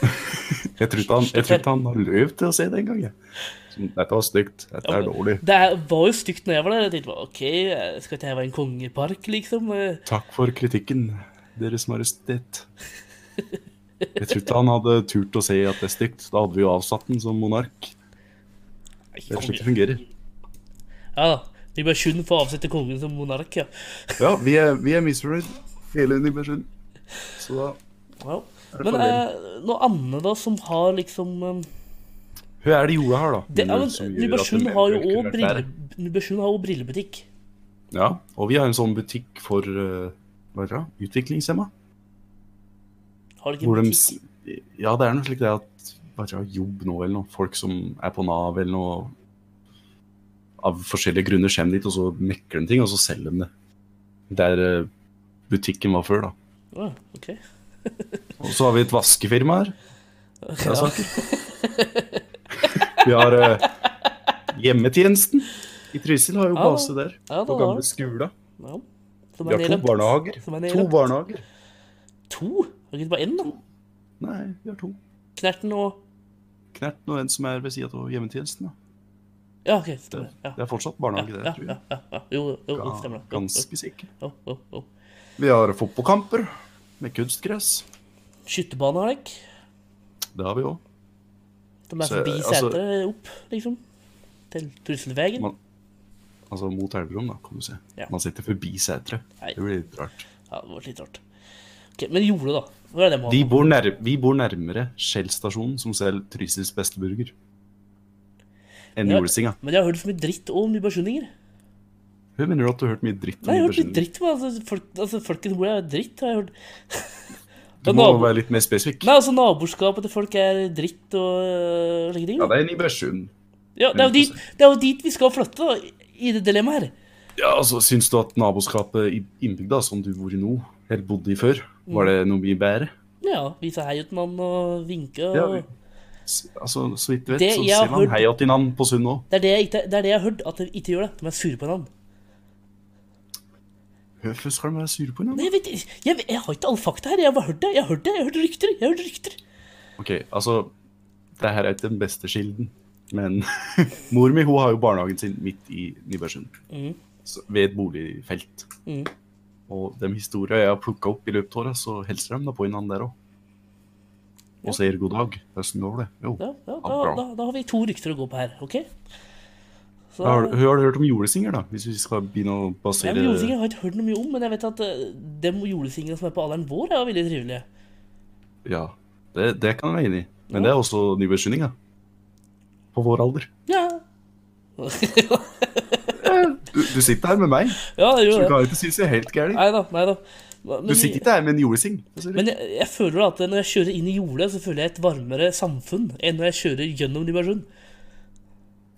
Speaker 3: Jeg trodde han, jeg trodde han hadde løv til å se det en gang. Jeg. Som, Dette var stygt. Dette er dårlig.
Speaker 5: Det er- var jo stygt når jeg var der. Jeg tenkte bare, OK, skal ikke jeg være en kongepark, liksom? Eh,
Speaker 3: Takk for kritikken, Deres Majestet. Jeg trodde ikke han hadde turt å si at det er stygt. Da hadde vi jo avsatt den som monark. Det er slik det
Speaker 5: konge.
Speaker 3: fungerer.
Speaker 5: Ja da. Vi bør kun få avsette kongen som monark, ja.
Speaker 3: Ja, vi er, vi er misfornøyd. Hele Nybergsund. Så da
Speaker 5: Wow.
Speaker 3: det
Speaker 5: Men
Speaker 3: problem?
Speaker 5: eh, noe annet da som har liksom eh,
Speaker 3: Hva er det jorda har, da?
Speaker 5: det, ja, men,
Speaker 3: som gjør at
Speaker 5: Nybergsund
Speaker 3: hun
Speaker 5: har jo
Speaker 3: eventuelt
Speaker 5: òg
Speaker 3: kunne vært
Speaker 5: brille,
Speaker 3: der?
Speaker 5: Nybergsund har også brillebutikk.
Speaker 3: Ja, og vi har en sånn butikk for eh, hva heter det, utviklingshemma.
Speaker 5: Har de ikke
Speaker 3: Hvor de,
Speaker 5: butikk?
Speaker 3: s- ja, det er noe slik det at bare jobb nå eller noe. Folk som er på Nav eller noe. Av forskjellige grunner kommer dit, og så mekker de ting, og så selger de det. Der eh, butikken var før, da.
Speaker 5: Å, ok.
Speaker 3: Og så har vi et vaskefirma her. Det er saker. Vi har eh, hjemmetjenesten i Trysil, har jo
Speaker 5: Ja da.
Speaker 3: base der.
Speaker 5: Ah. Ja,
Speaker 3: På
Speaker 5: da har
Speaker 3: gamle
Speaker 5: de.
Speaker 3: skola.
Speaker 5: Ja. Som
Speaker 3: Vi
Speaker 5: er
Speaker 3: har to
Speaker 5: nedlagt.
Speaker 3: barnehager.
Speaker 5: Som er
Speaker 3: To
Speaker 5: nedlagt.
Speaker 3: barnehager.
Speaker 5: To? Har ikke det bare én, da?
Speaker 3: Nei, vi har to.
Speaker 5: Knerten og
Speaker 3: Knerten og en som er ved sida av hjemmetjenesten. Da.
Speaker 5: Ja, OK.
Speaker 3: Det,
Speaker 5: Stemmer. Ja.
Speaker 3: det er fortsatt barnehage,
Speaker 5: Ja,
Speaker 3: det,
Speaker 5: ja,
Speaker 3: tror jeg.
Speaker 5: ja, ja, ja. Jo, jo, jo, jo,
Speaker 3: Ga-
Speaker 5: stemmer det. Jo,
Speaker 3: Ganske sikker.
Speaker 5: Jo, jo, jo.
Speaker 3: Vi har fotballkamper med kunstgress.
Speaker 5: Skytebane har de ikke.
Speaker 3: Det har vi òg.
Speaker 5: De er
Speaker 3: Så,
Speaker 5: forbi
Speaker 3: altså-
Speaker 5: seteret opp, liksom. Til Trusselvegen.
Speaker 3: Man- Altså mot Elverum, da, kan du se.
Speaker 5: Ja.
Speaker 3: Man sitter forbi setre.
Speaker 5: Nei.
Speaker 3: Det blir litt rart.
Speaker 5: Ja, det var litt rart. Ok, men Jole, da? Hvor er det med
Speaker 3: De
Speaker 5: han?
Speaker 3: bor nær, vi bor nærmere Skjell-stasjonen, som selger Trysils beste burger. Enn
Speaker 5: Ja.
Speaker 3: julesinga.
Speaker 5: Men jeg har hørt så mye dritt om nybergsundinger.
Speaker 3: Hun mener du at du har hørt mye dritt om
Speaker 5: Nei, jeg har hørt litt
Speaker 3: Nybergsund?
Speaker 5: dritt. men Altså, folk, altså, folken hvor jeg er dritt, har jeg hørt.
Speaker 3: Du
Speaker 5: Ja,
Speaker 3: må
Speaker 5: nabo-
Speaker 3: være litt mer spesifikk.
Speaker 5: Nei, altså naboskapet til folk er dritt og øh, slike ting.
Speaker 3: Ja,
Speaker 5: da.
Speaker 3: det er Nybergsund.
Speaker 5: Ja, det er jo dit, det er jo dit vi skal flytte, da, i det dilemmaet her.
Speaker 3: Ja, altså, syns du at naboskapet i innbygda, som du bor i nå, eller bodde i før,
Speaker 5: Mm.
Speaker 3: var det noe mye bedre?
Speaker 5: Ja, vise hei til mann og vinke og
Speaker 3: Ja, vi- S- altså, så vidt du vet,
Speaker 5: Det
Speaker 3: så
Speaker 5: jeg har
Speaker 3: sier man
Speaker 5: hørt-
Speaker 3: hei til navn på Sund òg.
Speaker 5: det, er det, jeg ikke, det er det jeg har hørt, at de ikke gjør det. De er sure på hverandre.
Speaker 3: Hvorfor skal de være sure på
Speaker 5: Nei,
Speaker 3: hverandre?
Speaker 5: jeg vet ikke. Jeg, vet- jeg har ikke alle fakta her. Jeg har bare hørt det. Jeg har hørt det. Jeg har hørt rykter. Jeg har hørt rykter.
Speaker 3: Ok, altså, det her er ikke den beste kilden, men mor mi hun har jo barnehagen sin midt i Nybergsund,
Speaker 5: Mm.
Speaker 3: så- ved et boligfelt.
Speaker 5: Mhm.
Speaker 3: Og de historier jeg har plukka opp i løpet av åra, så hilser de da på hverandre der òg. Og sier god dag. Hvordan går det? Jo.
Speaker 5: Ja, ja, da,
Speaker 3: bra.
Speaker 5: da, da har vi to rykter å gå på her, OK? Så,
Speaker 3: Har, du- har du hørt om julesinger, da? Hvis vi skal begynne å
Speaker 5: Ja,
Speaker 3: basere
Speaker 5: men Julesinger har jeg ikke hørt noe mye om, men jeg vet at eh, de julesingene som er på alderen vår, er jo veldig trivelige.
Speaker 3: Ja, det, det kan jeg være enig i. Men
Speaker 5: Ja.
Speaker 3: det er også nybergsundinger. På vår alder.
Speaker 5: Ja.
Speaker 3: Du, du sitter her med meg,
Speaker 5: ja, det
Speaker 3: så du
Speaker 5: gjør det.
Speaker 3: kan ikke synes jeg er helt gæren.
Speaker 5: Nei da, nei da. Men,
Speaker 3: Du sitter ikke her med en julesing. hva sier du?
Speaker 5: men jeg, jeg føler at når jeg kjører inn i jordet, så føler jeg et varmere samfunn enn når jeg kjører gjennom Nybergsund.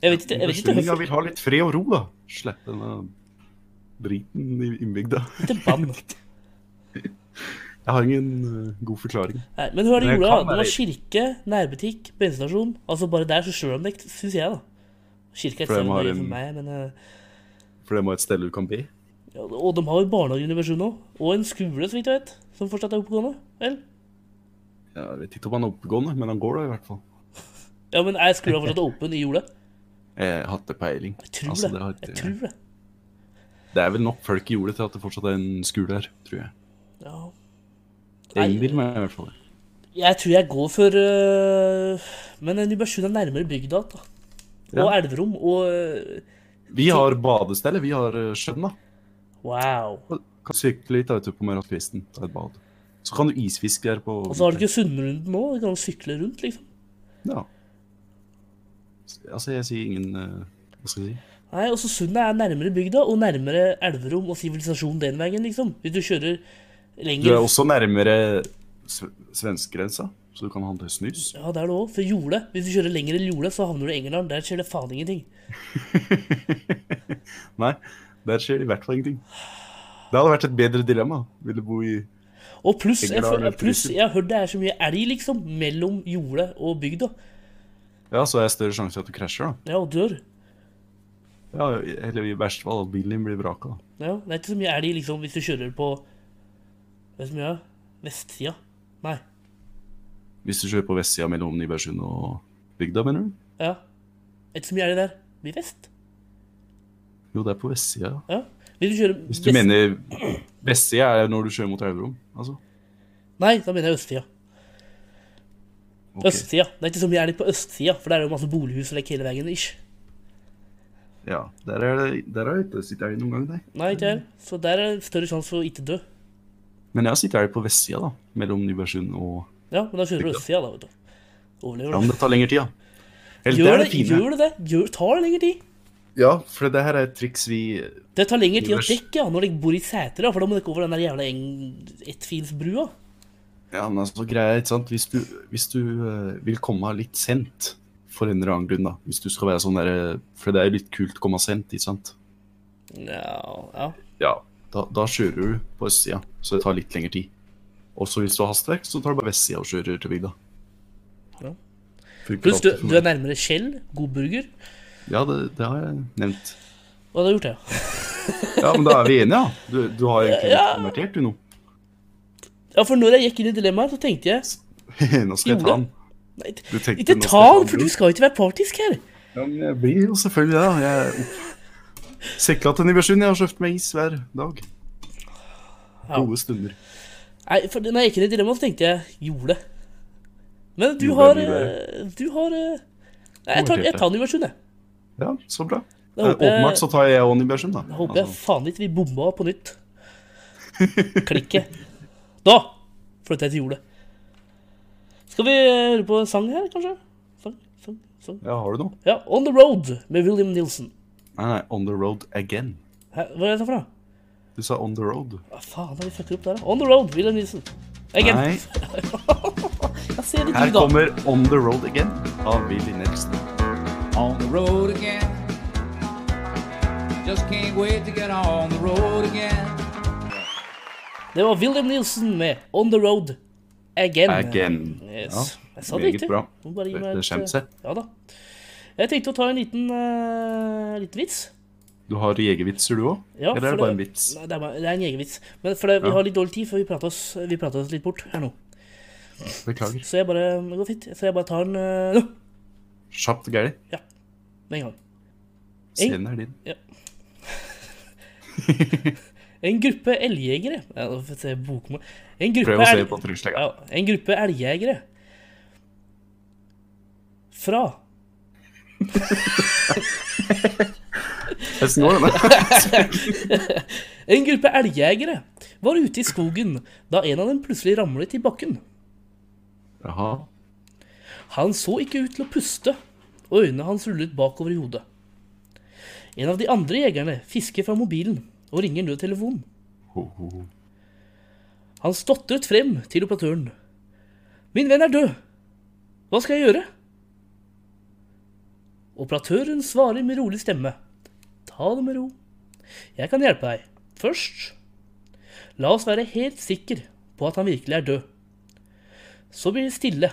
Speaker 5: Jeg vet ikke, jeg vet ikke
Speaker 3: Forstyrringa
Speaker 5: hvorfor.
Speaker 3: vil ha litt fred og ro, da. Slippe denne driten i innbygda.
Speaker 5: Til bann.
Speaker 3: Jeg har ingen eh, god forklaring.
Speaker 5: Nei, men hør det
Speaker 3: Men det
Speaker 5: jorda,
Speaker 3: kan
Speaker 5: det
Speaker 3: være-
Speaker 5: var kirke, nærbutikk, bensinstasjon. Altså bare der så slår de det, syns jeg, da. Kirke er
Speaker 3: For
Speaker 5: ikke
Speaker 3: de
Speaker 5: så
Speaker 3: har
Speaker 5: nøye
Speaker 3: en-
Speaker 5: for meg, men eh,
Speaker 3: For det må et sted du kan bli.
Speaker 5: Ja, og de har jo barnehageuniversjon òg. Og en skole, så vidt jeg vet, som fortsatt er oppegående. Vel?
Speaker 3: Ja, Jeg vet ikke om han er oppegående, men han går da i hvert fall.
Speaker 5: Ja, men er skolen fortsatt åpen i jorda?
Speaker 3: Jeg har ikke peiling.
Speaker 5: Jeg tror
Speaker 3: Altså,
Speaker 5: det.
Speaker 3: har ikke-
Speaker 5: Jeg tror det.
Speaker 3: det er vel nok folk i jordet til at det fortsatt er en skole her, tror jeg.
Speaker 5: Ja.
Speaker 3: Jeg
Speaker 5: Nei.
Speaker 3: innbiller meg i hvert fall det.
Speaker 5: Jeg tror jeg går for øh, Men Nybergsund er nærmere bygda. Da. Og
Speaker 3: Ja.
Speaker 5: Elverum og øh,
Speaker 3: Vi har badestellet, vi har eh, sjøen, da.
Speaker 5: Wow.
Speaker 3: Kan sykle litt da, ute på morgenkvisten, ta et bad. Så kan du isfiske der på
Speaker 5: Og så har du ikke Sundrunden nå. Du kan sykle rundt, liksom.
Speaker 3: Ja. Altså, jeg sier ingen eh, Hva skal jeg si?
Speaker 5: Nei, også Sundet er nærmere bygda og nærmere Elverum og sivilisasjon den veien, liksom. Hvis du kjører
Speaker 3: Du
Speaker 5: lenger
Speaker 3: er også nærmere sve- svenskegrensa, så du kan handle snus.
Speaker 5: Ja, det er det òg. For Jole. Hvis du kjører lenger enn Jole, så havner du i England. Der skjer det faen ingenting.
Speaker 3: Nei, der skjer det i hvert fall ingenting. Det hadde vært et bedre dilemma. Vil du bo i
Speaker 5: Og pluss, jeg,
Speaker 3: Engerdal
Speaker 5: føl-
Speaker 3: eller
Speaker 5: pluss,
Speaker 3: Trysil.
Speaker 5: jeg har hørt det er så mye elg, liksom, mellom Jole og bygda.
Speaker 3: Ja, så er det større sjanse for at du krasjer, da.
Speaker 5: Ja, og dør.
Speaker 3: Ja, Eller i verste fall at bilen din blir vraka. da.
Speaker 5: Ja, det er ikke så mye elg liksom hvis du kjører på Vet du hvor mye? er det? Vestsida? Nei.
Speaker 3: Hvis du kjører på vestsida mellom Nybergsund og bygda, mener du?
Speaker 5: Ja. Det er Ikke så mye elg der. Det Blir vest.
Speaker 3: Jo, det er på vestsida, ja.
Speaker 5: Ja. Hvis du kjører
Speaker 3: Hvis du mener vestsida er når du kjører mot Elverum, altså.
Speaker 5: Nei, da mener jeg østsida.
Speaker 3: Ok.
Speaker 5: Østsida. Det er ikke så mye elg på østsida, for der er det jo masse bolighus og lekk hele veien. ish.
Speaker 3: Ja, der er det der er det ikke sittet elg noen gang, nei.
Speaker 5: Nei, ikke jeg. Så der er det større sjanse for å ikke dø.
Speaker 3: Men jeg har sittet elg på vestsida, da. Mellom Nybergsund og
Speaker 5: Ja, men da kjører du
Speaker 3: Bygda.
Speaker 5: østsida, da, vet du.
Speaker 3: Ja,
Speaker 5: Overlever
Speaker 3: men
Speaker 5: du.
Speaker 3: det tar lengre tid, da. Eller, det
Speaker 5: Gjør
Speaker 3: er
Speaker 5: det,
Speaker 3: det fine.
Speaker 5: gjør det det? Gjør, tar det lengre tid?
Speaker 3: Ja, for det her er et triks vi
Speaker 5: Det tar lengre tid å
Speaker 3: Gjør det.
Speaker 5: dekke ja, når dere bor i Sæter, ja, for da må dere over den der jævla eng- Ettfilsbrua.
Speaker 3: Ja, men altså, greia er, ikke sant? Hvis du, hvis du eh, vil komme litt sent, for en eller annen grunn, da. Hvis du skal være sånn der eh, For det er jo litt kult å komme sent, ikke sant?
Speaker 5: Ja, ja.
Speaker 3: Ja. Da, da kjører du på østsida, så det tar litt lengre tid. Og så hvis du har hastverk, så tar du bare vestsida og kjører til bygda.
Speaker 5: Ja.
Speaker 3: Funker
Speaker 5: Pluss, du,
Speaker 3: alltid for
Speaker 5: du er
Speaker 3: meg.
Speaker 5: nærmere Shell, god burger.
Speaker 3: Ja, det, det har jeg nevnt.
Speaker 5: Og det har gjort det, ja.
Speaker 3: Ja, men da er vi enige, ja. Du, du har egentlig ikke konvertert, du nå.
Speaker 5: Ja, for når jeg gikk inn i dilemmaet, så tenkte jeg
Speaker 3: Nå skal jeg ta den.
Speaker 5: Nei,
Speaker 3: Du tenkte
Speaker 5: ikke
Speaker 3: nå skal
Speaker 5: ta
Speaker 3: jeg
Speaker 5: den, for du
Speaker 3: bror.
Speaker 5: skal jo ikke være partisk her.
Speaker 3: Ja, men jeg blir jo selvfølgelig det. da. Jeg Sekla til Nybergsund. Jeg har kjøpt meg is hver dag.
Speaker 5: Ja.
Speaker 3: Gode stunder.
Speaker 5: Nei, for når jeg gikk inn i dilemmaet, så tenkte jeg jorde. Men du
Speaker 3: Jorde,
Speaker 5: har
Speaker 3: jorde.
Speaker 5: eh, Du har eh, Nei, jeg tar, jeg tar den i versjon, jeg.
Speaker 3: Ja, så bra.
Speaker 5: Da håper
Speaker 3: Eh,
Speaker 5: jeg-
Speaker 3: Åpenbart så tar jeg òg Nybergsund, da. Altså,
Speaker 5: Jeg håper jeg faen ikke vi bomba på nytt. Klikke. Da flytter jeg til jordet. Skal vi eh, høre på en sang her, kanskje? Sang, sang, sang.
Speaker 3: Ja, har du noe?
Speaker 5: Ja, On The Road med William Nilsen.
Speaker 3: Nei, nei, On The Road Again.
Speaker 5: Hæ, hva er det for noe?
Speaker 3: Du sa On The Road.
Speaker 5: Hva faen er det vi fucker opp der, da? On the road, William Nilsen. Again.
Speaker 3: Nei,
Speaker 5: Jeg ser litt
Speaker 3: her
Speaker 5: ut, da.
Speaker 3: kommer On The Road Again av Willy Nelson.
Speaker 1: on the road again. Just can't wait to get on the road again.
Speaker 5: Det var William Nilsen med On the road again.
Speaker 3: Again.
Speaker 5: Yes. jeg sa det
Speaker 3: meget
Speaker 5: riktig.
Speaker 3: bra.
Speaker 5: Må bare gi
Speaker 3: Det-
Speaker 5: meg
Speaker 3: det
Speaker 5: et,
Speaker 3: skjemmer seg.
Speaker 5: eh, Ja da. Jeg tenkte å ta en liten, eh, liten vits.
Speaker 3: Du har jegervitser, du òg?
Speaker 5: Ja,
Speaker 3: Eller er
Speaker 5: for
Speaker 3: det bare en vits?
Speaker 5: Nei, det er, bare, det er en jegervits. Men for det, vi
Speaker 3: Ja.
Speaker 5: har litt dårlig tid, for vi prater oss, vi prater oss litt bort her nå.
Speaker 3: Beklager.
Speaker 5: Så jeg bare det går fint. Så jeg bare tar den eh, nå
Speaker 3: Kjapt og gærent.
Speaker 5: med en gang.
Speaker 3: Scenen er din.
Speaker 5: En gruppe elgjegere ja, nå får jeg se bokmål. En gruppe
Speaker 3: Prøv å se
Speaker 5: elg-
Speaker 3: på trykkslegga.
Speaker 5: Ja, en gruppe elgjegere fra
Speaker 3: Hvordan går det?
Speaker 5: En gruppe elgjegere var ute i skogen da en av dem plutselig ramlet i bakken.
Speaker 3: Jaha.
Speaker 5: Han så ikke ut til å puste, og øynene hans rullet bakover i hodet. En av de andre jegerne fisker fra mobilen og ringer nødtelefonen.
Speaker 3: Ho, ho, ho.
Speaker 5: Han stotret frem til operatøren. Min venn er død. Hva skal jeg gjøre? Operatøren svarer med rolig stemme. Ta det med ro. Jeg kan hjelpe deg. Først La oss være helt sikker på at han virkelig er død. Så blir det stille.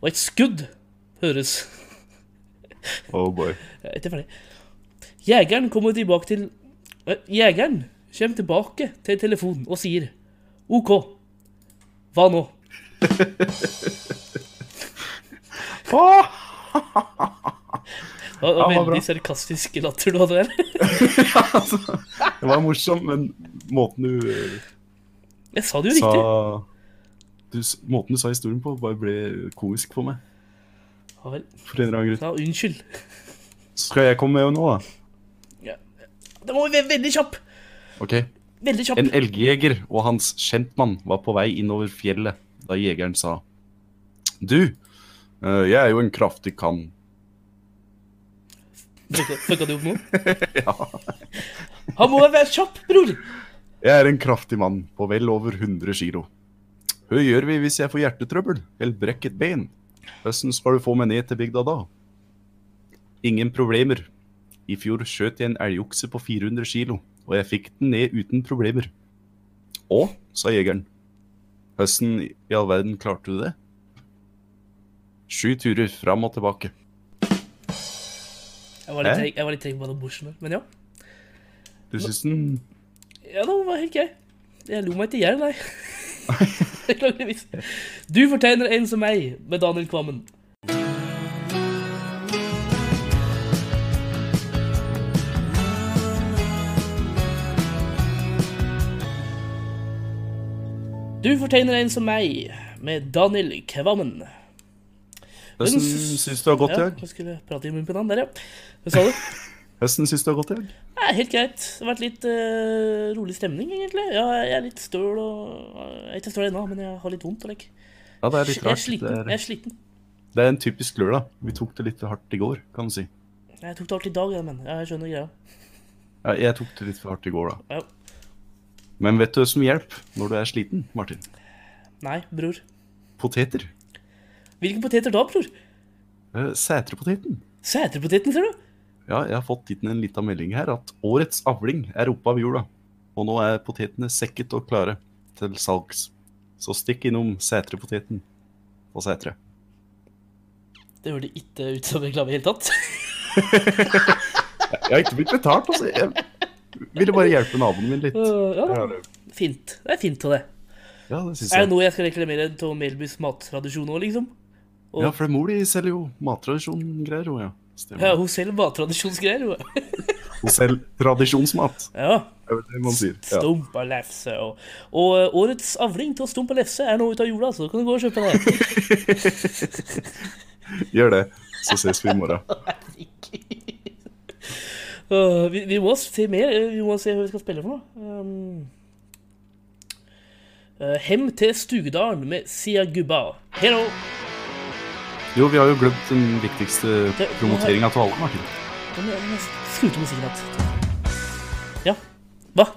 Speaker 5: Og et skudd høres.
Speaker 3: Oh boy.
Speaker 5: Jeg er ikke Eh, ferdig. Jegeren kommer tilbake til eh, Jegeren kommer tilbake til telefonen og sier OK. Hva nå?
Speaker 3: Åh!
Speaker 5: Det var
Speaker 3: Ja, det var
Speaker 5: veldig sarkastisk latter du hadde der.
Speaker 3: Altså, det var morsomt, men måten du eh,
Speaker 5: Jeg sa det jo
Speaker 3: sa
Speaker 5: riktig.
Speaker 3: du, s- Måten du sa historien på, bare ble komisk for meg.
Speaker 5: Ja, vel.
Speaker 3: For en eller annen grunn.
Speaker 5: Ja, unnskyld.
Speaker 3: Skal jeg komme med nå, da?
Speaker 5: Da må vi være veldig kjapp.
Speaker 3: Ok.
Speaker 5: Veldig kjapp.
Speaker 3: En elgjeger og hans kjentmann var på vei innover fjellet da jegeren sa Du, eh, jeg er jo en kraftig kann.
Speaker 5: Fucka fucka du opp nå? Han må være kjapp, bror.
Speaker 3: Jeg er en kraftig mann på vel over 100 kilo. Hva gjør vi hvis jeg får hjertetrøbbel eller brekket bein? Hvordan skal du få meg ned til bygda da? Ingen problemer. I fjor skjøt jeg en elgokse på 400 kilo, og jeg fikk den ned uten problemer. Å, sa jegeren. Hvordan i all verden klarte du det? Sju turer fram og tilbake.
Speaker 5: Jeg var litt
Speaker 3: Hæ?
Speaker 5: treg, jeg var litt treg på den borsen der, men ja.
Speaker 3: Du syns den
Speaker 5: Ja, det var helt grei. Jeg lo meg ikke i hjel, nei. Beklageligvis. Du fortjener en som meg, med Daniel Kvammen. Du fortjener en som meg, med Daniel Kvammen.
Speaker 3: Hvordan
Speaker 5: s-
Speaker 3: syns du har gått i
Speaker 5: Ja,
Speaker 3: dag?
Speaker 5: jeg skulle prate i munnen på den der, ja. Hva sa du?
Speaker 3: Hvordan syns du har gått i dag?
Speaker 5: Nei, helt greit. Det har vært litt eh, rolig stemning, egentlig. Ja, jeg er litt støl og eh, Jeg er ikke støl ennå, men jeg har litt vondt. og Like.
Speaker 3: Ja, det er
Speaker 5: Jeg
Speaker 3: litt
Speaker 5: er
Speaker 3: rart.
Speaker 5: sliten.
Speaker 3: Det er-
Speaker 5: Jeg er sliten.
Speaker 3: Det er en typisk lørdag. Vi tok det litt for hardt i går, kan du si.
Speaker 5: Jeg tok det hardt i dag, jeg, men jeg skjønner greia.
Speaker 3: Ja, jeg tok det litt for hardt i går, da.
Speaker 5: Ja.
Speaker 3: Men vet du hva som hjelper når du er sliten, Martin?
Speaker 5: Nei, bror.
Speaker 3: Poteter.
Speaker 5: Hvilke poteter da, bror?
Speaker 3: Eh, Sæterpoteten.
Speaker 5: Sæterpoteten, ser du?
Speaker 3: Ja, jeg har fått gitt en liten melding her at årets avling er oppe av jorda. Og nå er potetene sekket og klare til salgs. Så stikk innom Sæterpoteten på Sætre.
Speaker 5: Det hørte ikke ut som reklame i det hele tatt.
Speaker 3: Jeg har ikke blitt betalt, altså. Jeg ville bare hjelpe naboen min litt.
Speaker 5: Øh, ja da.
Speaker 3: Ja, det-
Speaker 5: Fint. Det er fint av det.
Speaker 3: Ja, det syns
Speaker 5: Er det
Speaker 3: jeg.
Speaker 5: noe jeg skal reklamere til Melbys mattradisjon òg, liksom?
Speaker 3: Ja, for mor di selger jo mattradisjon-greier, hun, ja.
Speaker 5: Ja,
Speaker 3: Stemmer.
Speaker 5: hun selv mattradisjonsgreier, hun.
Speaker 3: Hun selger tradisjonsmat.
Speaker 5: Ja.
Speaker 3: Det er det man sier. Ja.
Speaker 5: Stump og lefse. Og, og eh, årets avling til stump og lefse er nå ute av jorda, så kan du gå og kjøpe det.
Speaker 3: Gjør det, så ses vi i morgen.
Speaker 5: Øh, vi, vi må se mer. eh, Vi må se hva vi skal spille for noe. Um, eh, Hem til Stugedalen med Sia Gubba. Hello!
Speaker 3: Jo, vi har jo glemt den viktigste promoteringa av alle, Martin.
Speaker 5: Skru til musikken igjen. Ja. Hva?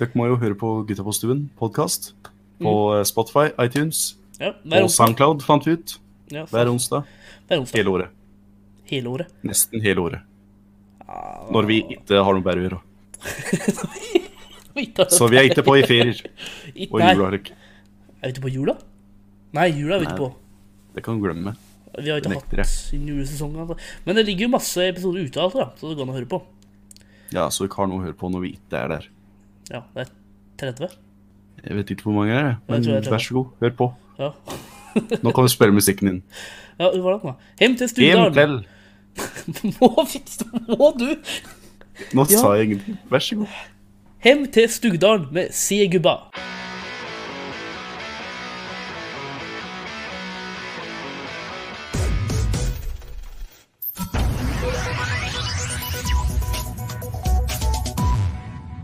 Speaker 3: Dere må jo høre på Gutta på stuen podkast på eh, Spotify, iTunes
Speaker 5: Ja, Mm. hver
Speaker 3: og
Speaker 5: onsdag.
Speaker 3: SoundCloud, fant vi ut.
Speaker 5: Ja,
Speaker 3: Hver onsdag.
Speaker 5: hver onsdag.
Speaker 3: Hele året.
Speaker 5: Hele året.
Speaker 3: Nesten hele året.
Speaker 5: Ah.
Speaker 3: Når vi ikke har noe bedre å gjøre. Så vi er ikke på i ferier og
Speaker 5: Nei,
Speaker 3: jula. Erik.
Speaker 5: Er vi ute på jula? Nei, jula er vi ikke på.
Speaker 3: Det kan du glemme.
Speaker 5: Vi har ikke
Speaker 3: Nekter
Speaker 5: hatt en julesesong. Altså. Men det ligger jo masse episoder ute, altså, da, så det går an å høre på.
Speaker 3: Ja, Så dere har noe å høre på når vi ikke er der.
Speaker 5: Ja, det er 30.
Speaker 3: Jeg vet ikke hvor mange det er,
Speaker 5: Jeg
Speaker 3: men
Speaker 5: tror jeg tror
Speaker 3: vær så god, hør på.
Speaker 5: Ja,
Speaker 3: Nå kan du spille musikken din.
Speaker 5: ja hvor var det nå? Hjem til
Speaker 3: En
Speaker 5: Stugedalen.
Speaker 3: kveld.
Speaker 5: Må, fikse- må du?
Speaker 3: Nå
Speaker 5: Ja.
Speaker 3: sa jeg ingenting. Vær så god.
Speaker 5: Hjem til Stugedalen med Sie Gubba.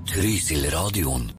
Speaker 6: Trysil-radioen.